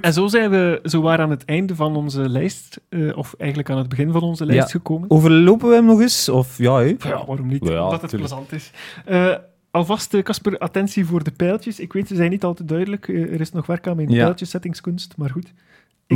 Speaker 2: En zo zijn we zowaar aan het einde van onze lijst, eh, of eigenlijk aan het begin van onze lijst gekomen.
Speaker 1: Overlopen we hem nog eens? Of ja, hè?
Speaker 2: Ja, waarom niet?
Speaker 1: Ja,
Speaker 2: Omdat het
Speaker 1: tuurlijk.
Speaker 2: plezant is. Eh, alvast, eh, Casper, attentie voor de pijltjes. Ik weet, ze zijn niet al te duidelijk. Eh, er is nog werk aan mijn
Speaker 1: Ja.
Speaker 2: pijltjessettingskunst, maar goed. Ik,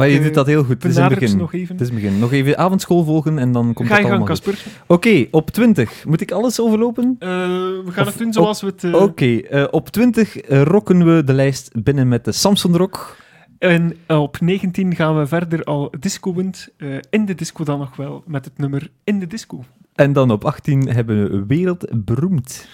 Speaker 1: Maar je
Speaker 2: eh,
Speaker 1: doet dat heel goed. Het is in het
Speaker 2: benader
Speaker 1: begin.
Speaker 2: ze nog even.
Speaker 1: Het is het begin. Nog even avondschool volgen en dan komt
Speaker 2: Ga
Speaker 1: het
Speaker 2: je gang,
Speaker 1: allemaal goed.
Speaker 2: Casper.
Speaker 1: Oké, op 20. Moet ik alles overlopen?
Speaker 2: Eh, we gaan
Speaker 1: Of-
Speaker 2: het doen zoals we het... eh,
Speaker 1: Oké, eh, op 20 eh, rocken we de lijst binnen met de Samson Rock.
Speaker 2: En eh, op 19 gaan we verder al discoend. eh, in de disco dan nog wel, met het nummer In de Disco.
Speaker 1: En dan op 18 hebben we Wereldberoemd.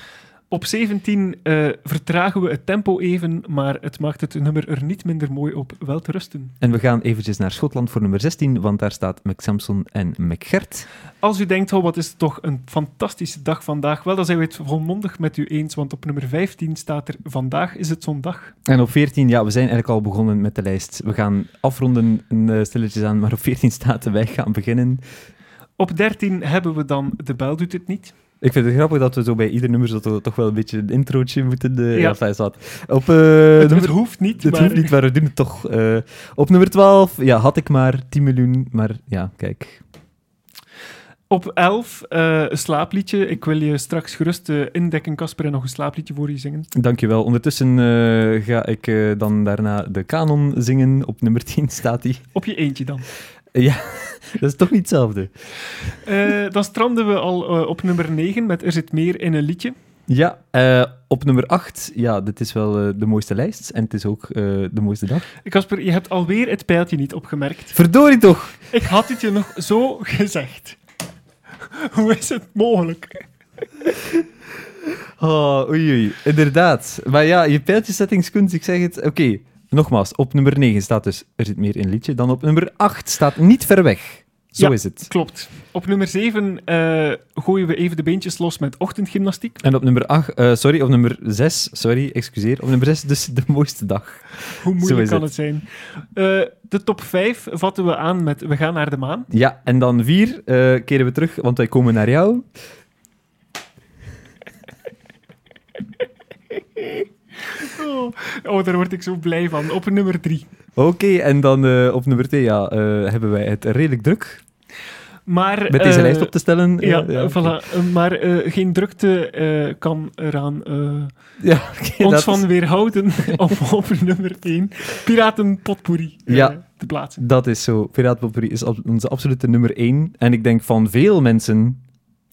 Speaker 2: Op 17 eh, vertragen we het tempo even, maar het maakt het nummer er niet minder mooi op wel te rusten.
Speaker 1: En we gaan eventjes naar Schotland voor nummer 16, want daar staat McSamson en McGert.
Speaker 2: Als u denkt, oh, wat is het toch een fantastische dag vandaag? Wel, dan zijn we het volmondig met u eens, want op nummer 15 staat er vandaag is het zondag.
Speaker 1: En op 14, ja, we zijn eigenlijk al begonnen met de lijst. We gaan afronden eh, stilletjes aan, maar op 14 staat wij gaan beginnen.
Speaker 2: Op 13 hebben we dan De Bel doet het niet.
Speaker 1: Ik vind het grappig dat we zo bij ieder nummer zo to- toch wel een beetje een introotje moeten... eh
Speaker 2: Ja.
Speaker 1: ja, enfin, zwart. Op eh,
Speaker 2: het, het
Speaker 1: nummer...
Speaker 2: hoeft niet,
Speaker 1: Het
Speaker 2: maar
Speaker 1: hoeft niet, maar we doen het toch. eh. op nummer 12, ja, had ik maar 10 miljoen, maar ja, kijk.
Speaker 2: op 11 eh, een slaapliedje. Ik wil je straks gerust eh, indekken, Casper, en nog een slaapliedje voor je zingen.
Speaker 1: Dankjewel. Ondertussen eh, ga ik eh, dan daarna de kanon zingen. Op nummer 10 staat die.
Speaker 2: Op je eentje dan.
Speaker 1: Dat is toch niet hetzelfde?
Speaker 2: Eh, dan stranden we al eh, op nummer 9 met Er zit meer in een liedje.
Speaker 1: Ja, eh, op nummer 8, ja, dit is wel eh, de mooiste lijst. En het is ook eh, de mooiste dag.
Speaker 2: Casper, je hebt alweer het pijltje niet opgemerkt.
Speaker 1: Verdorie toch!
Speaker 2: Ik had het je nog zo gezegd. Hoe is het mogelijk?
Speaker 1: Oh, oei, oei. Inderdaad. Maar ja, je pijltjesettingskunst, ik zeg het. Oké, nogmaals, op nummer 9 staat dus Er zit meer in liedje. Dan op nummer 8 staat Niet ver weg. Zo
Speaker 2: Ja.
Speaker 1: is het.
Speaker 2: Klopt. Op nummer 7 eh, gooien we even de beentjes los met ochtendgymnastiek.
Speaker 1: En op nummer 8, eh, sorry, op nummer 6, sorry, excuseer. Op nummer 6 dus de mooiste dag.
Speaker 2: Hoe
Speaker 1: Zo
Speaker 2: moeilijk
Speaker 1: is
Speaker 2: kan het,
Speaker 1: het.
Speaker 2: zijn? Eh, de top 5 vatten we aan met We gaan naar de maan.
Speaker 1: Ja, en dan 4 eh, keren we terug, want wij komen naar jou.
Speaker 2: Oh, oh, daar word ik zo blij van. Op nummer 3.
Speaker 1: Oké, en dan eh, op nummer 2 ja, eh, hebben wij het redelijk druk.
Speaker 2: Maar,
Speaker 1: Met deze
Speaker 2: eh,
Speaker 1: lijst op te stellen. eh,
Speaker 2: Ja,
Speaker 1: ja,
Speaker 2: voilà. Eh, Maar eh, geen drukte eh, kan eraan eh,
Speaker 1: Ja, oké,
Speaker 2: ons
Speaker 1: dat-
Speaker 2: van weerhouden om op nummer 1 Piraten Potpourri eh,
Speaker 1: Ja.
Speaker 2: te plaatsen.
Speaker 1: Dat is zo. Piraat Potpourri is ab- onze absolute nummer één. En ik denk van veel mensen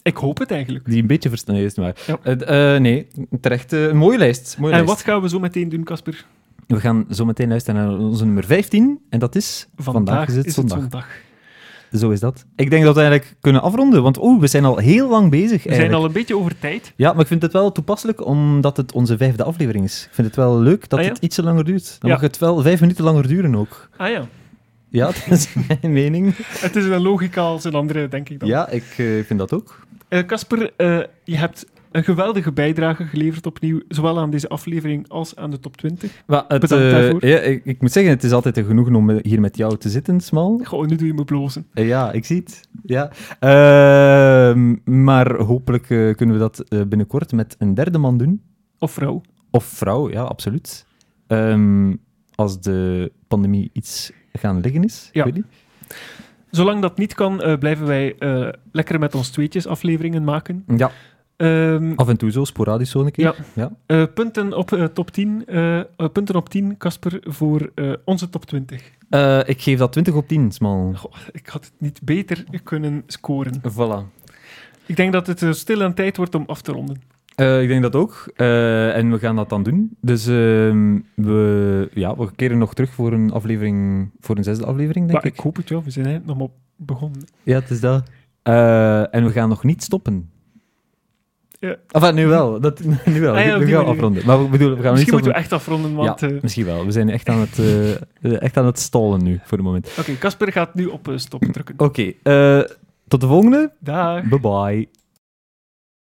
Speaker 2: Ik hoop het eigenlijk.
Speaker 1: die een beetje verstaan. Nee, is het maar.
Speaker 2: Ja.
Speaker 1: Eh, d- eh, nee, terecht. eh, een mooie lijst. Mooie
Speaker 2: En
Speaker 1: lijst.
Speaker 2: wat gaan we zo meteen doen, Casper?
Speaker 1: We gaan zo meteen luisteren naar onze nummer 15. En dat is...
Speaker 2: Vandaag,
Speaker 1: is het zondag.
Speaker 2: zondag.
Speaker 1: Zo is dat. Ik denk dat we eigenlijk kunnen afronden. Want oeh, we zijn al heel lang bezig
Speaker 2: We zijn
Speaker 1: eigenlijk.
Speaker 2: al een beetje over tijd.
Speaker 1: Ja, maar ik vind het wel toepasselijk, omdat het onze vijfde aflevering is. Ik vind het wel leuk dat
Speaker 2: Ah, ja?
Speaker 1: het ietsje langer duurt. Dan
Speaker 2: Ja.
Speaker 1: mag het wel vijf minuten langer duren ook.
Speaker 2: Ah ja,
Speaker 1: Ja, dat is mijn mening.
Speaker 2: het is een logica als een andere, denk ik dan.
Speaker 1: Ja, ik eh, vind dat ook.
Speaker 2: Eh, Casper, eh, je hebt een geweldige bijdrage geleverd opnieuw, zowel aan deze aflevering als aan de top 20.
Speaker 1: Maar het,
Speaker 2: Bedankt
Speaker 1: eh,
Speaker 2: daarvoor.
Speaker 1: ja, ik, ik moet zeggen, het is altijd een genoegen om eh, hier met jou te zitten, Smal.
Speaker 2: Goh, nu doe je me blozen.
Speaker 1: Eh, ja, ik zie het. Ja. Ehm, maar hopelijk eh, kunnen we dat eh, binnenkort met een derde man doen.
Speaker 2: Of vrouw.
Speaker 1: Of vrouw, ja, absoluut. Ehm, als de pandemie iets gaan liggen is.
Speaker 2: Ja.
Speaker 1: Ik weet niet.
Speaker 2: Zolang dat niet kan, eh, blijven wij eh, lekker met ons tweetjes afleveringen maken.
Speaker 1: ja,
Speaker 2: Ehm,
Speaker 1: af en toe zo, sporadisch zo een keer.
Speaker 2: Ja. eh, punten op eh, top 10. eh, eh, punten op 10, Casper, voor eh, onze top 20.
Speaker 1: Eh, ik geef dat 20 op 10, smal.
Speaker 2: Goh, ik had het niet beter kunnen scoren.
Speaker 1: Voilà.
Speaker 2: Ik denk dat het eh, stil aan tijd wordt om af te ronden.
Speaker 1: Eh, ik denk dat ook. Eh, en we gaan dat dan doen. Dus ehm, we, ja, we keren nog terug voor een aflevering, voor een zesde aflevering, denk
Speaker 2: Maar ik
Speaker 1: ik.
Speaker 2: hoop het wel, we zijn eigenlijk nog maar begonnen.
Speaker 1: Ja, het is dat. Eh, en we gaan nog niet stoppen.
Speaker 2: Ja.
Speaker 1: Enfin, nu wel. Dat, nu wel.
Speaker 2: Ah ja, op
Speaker 1: we
Speaker 2: die
Speaker 1: gaan
Speaker 2: manier.
Speaker 1: afronden. Maar we, bedoelen, we gaan nog niet
Speaker 2: Misschien
Speaker 1: stoppen.
Speaker 2: moeten we echt afronden, want...
Speaker 1: ja,
Speaker 2: eh,
Speaker 1: misschien wel. We zijn echt aan het, eh, eh, echt aan het stallen nu, voor het moment. Oh.
Speaker 2: Oké, Casper gaat nu op eh, stop drukken.
Speaker 1: Oké, eh, tot de volgende.
Speaker 2: Dag.
Speaker 1: Bye-bye.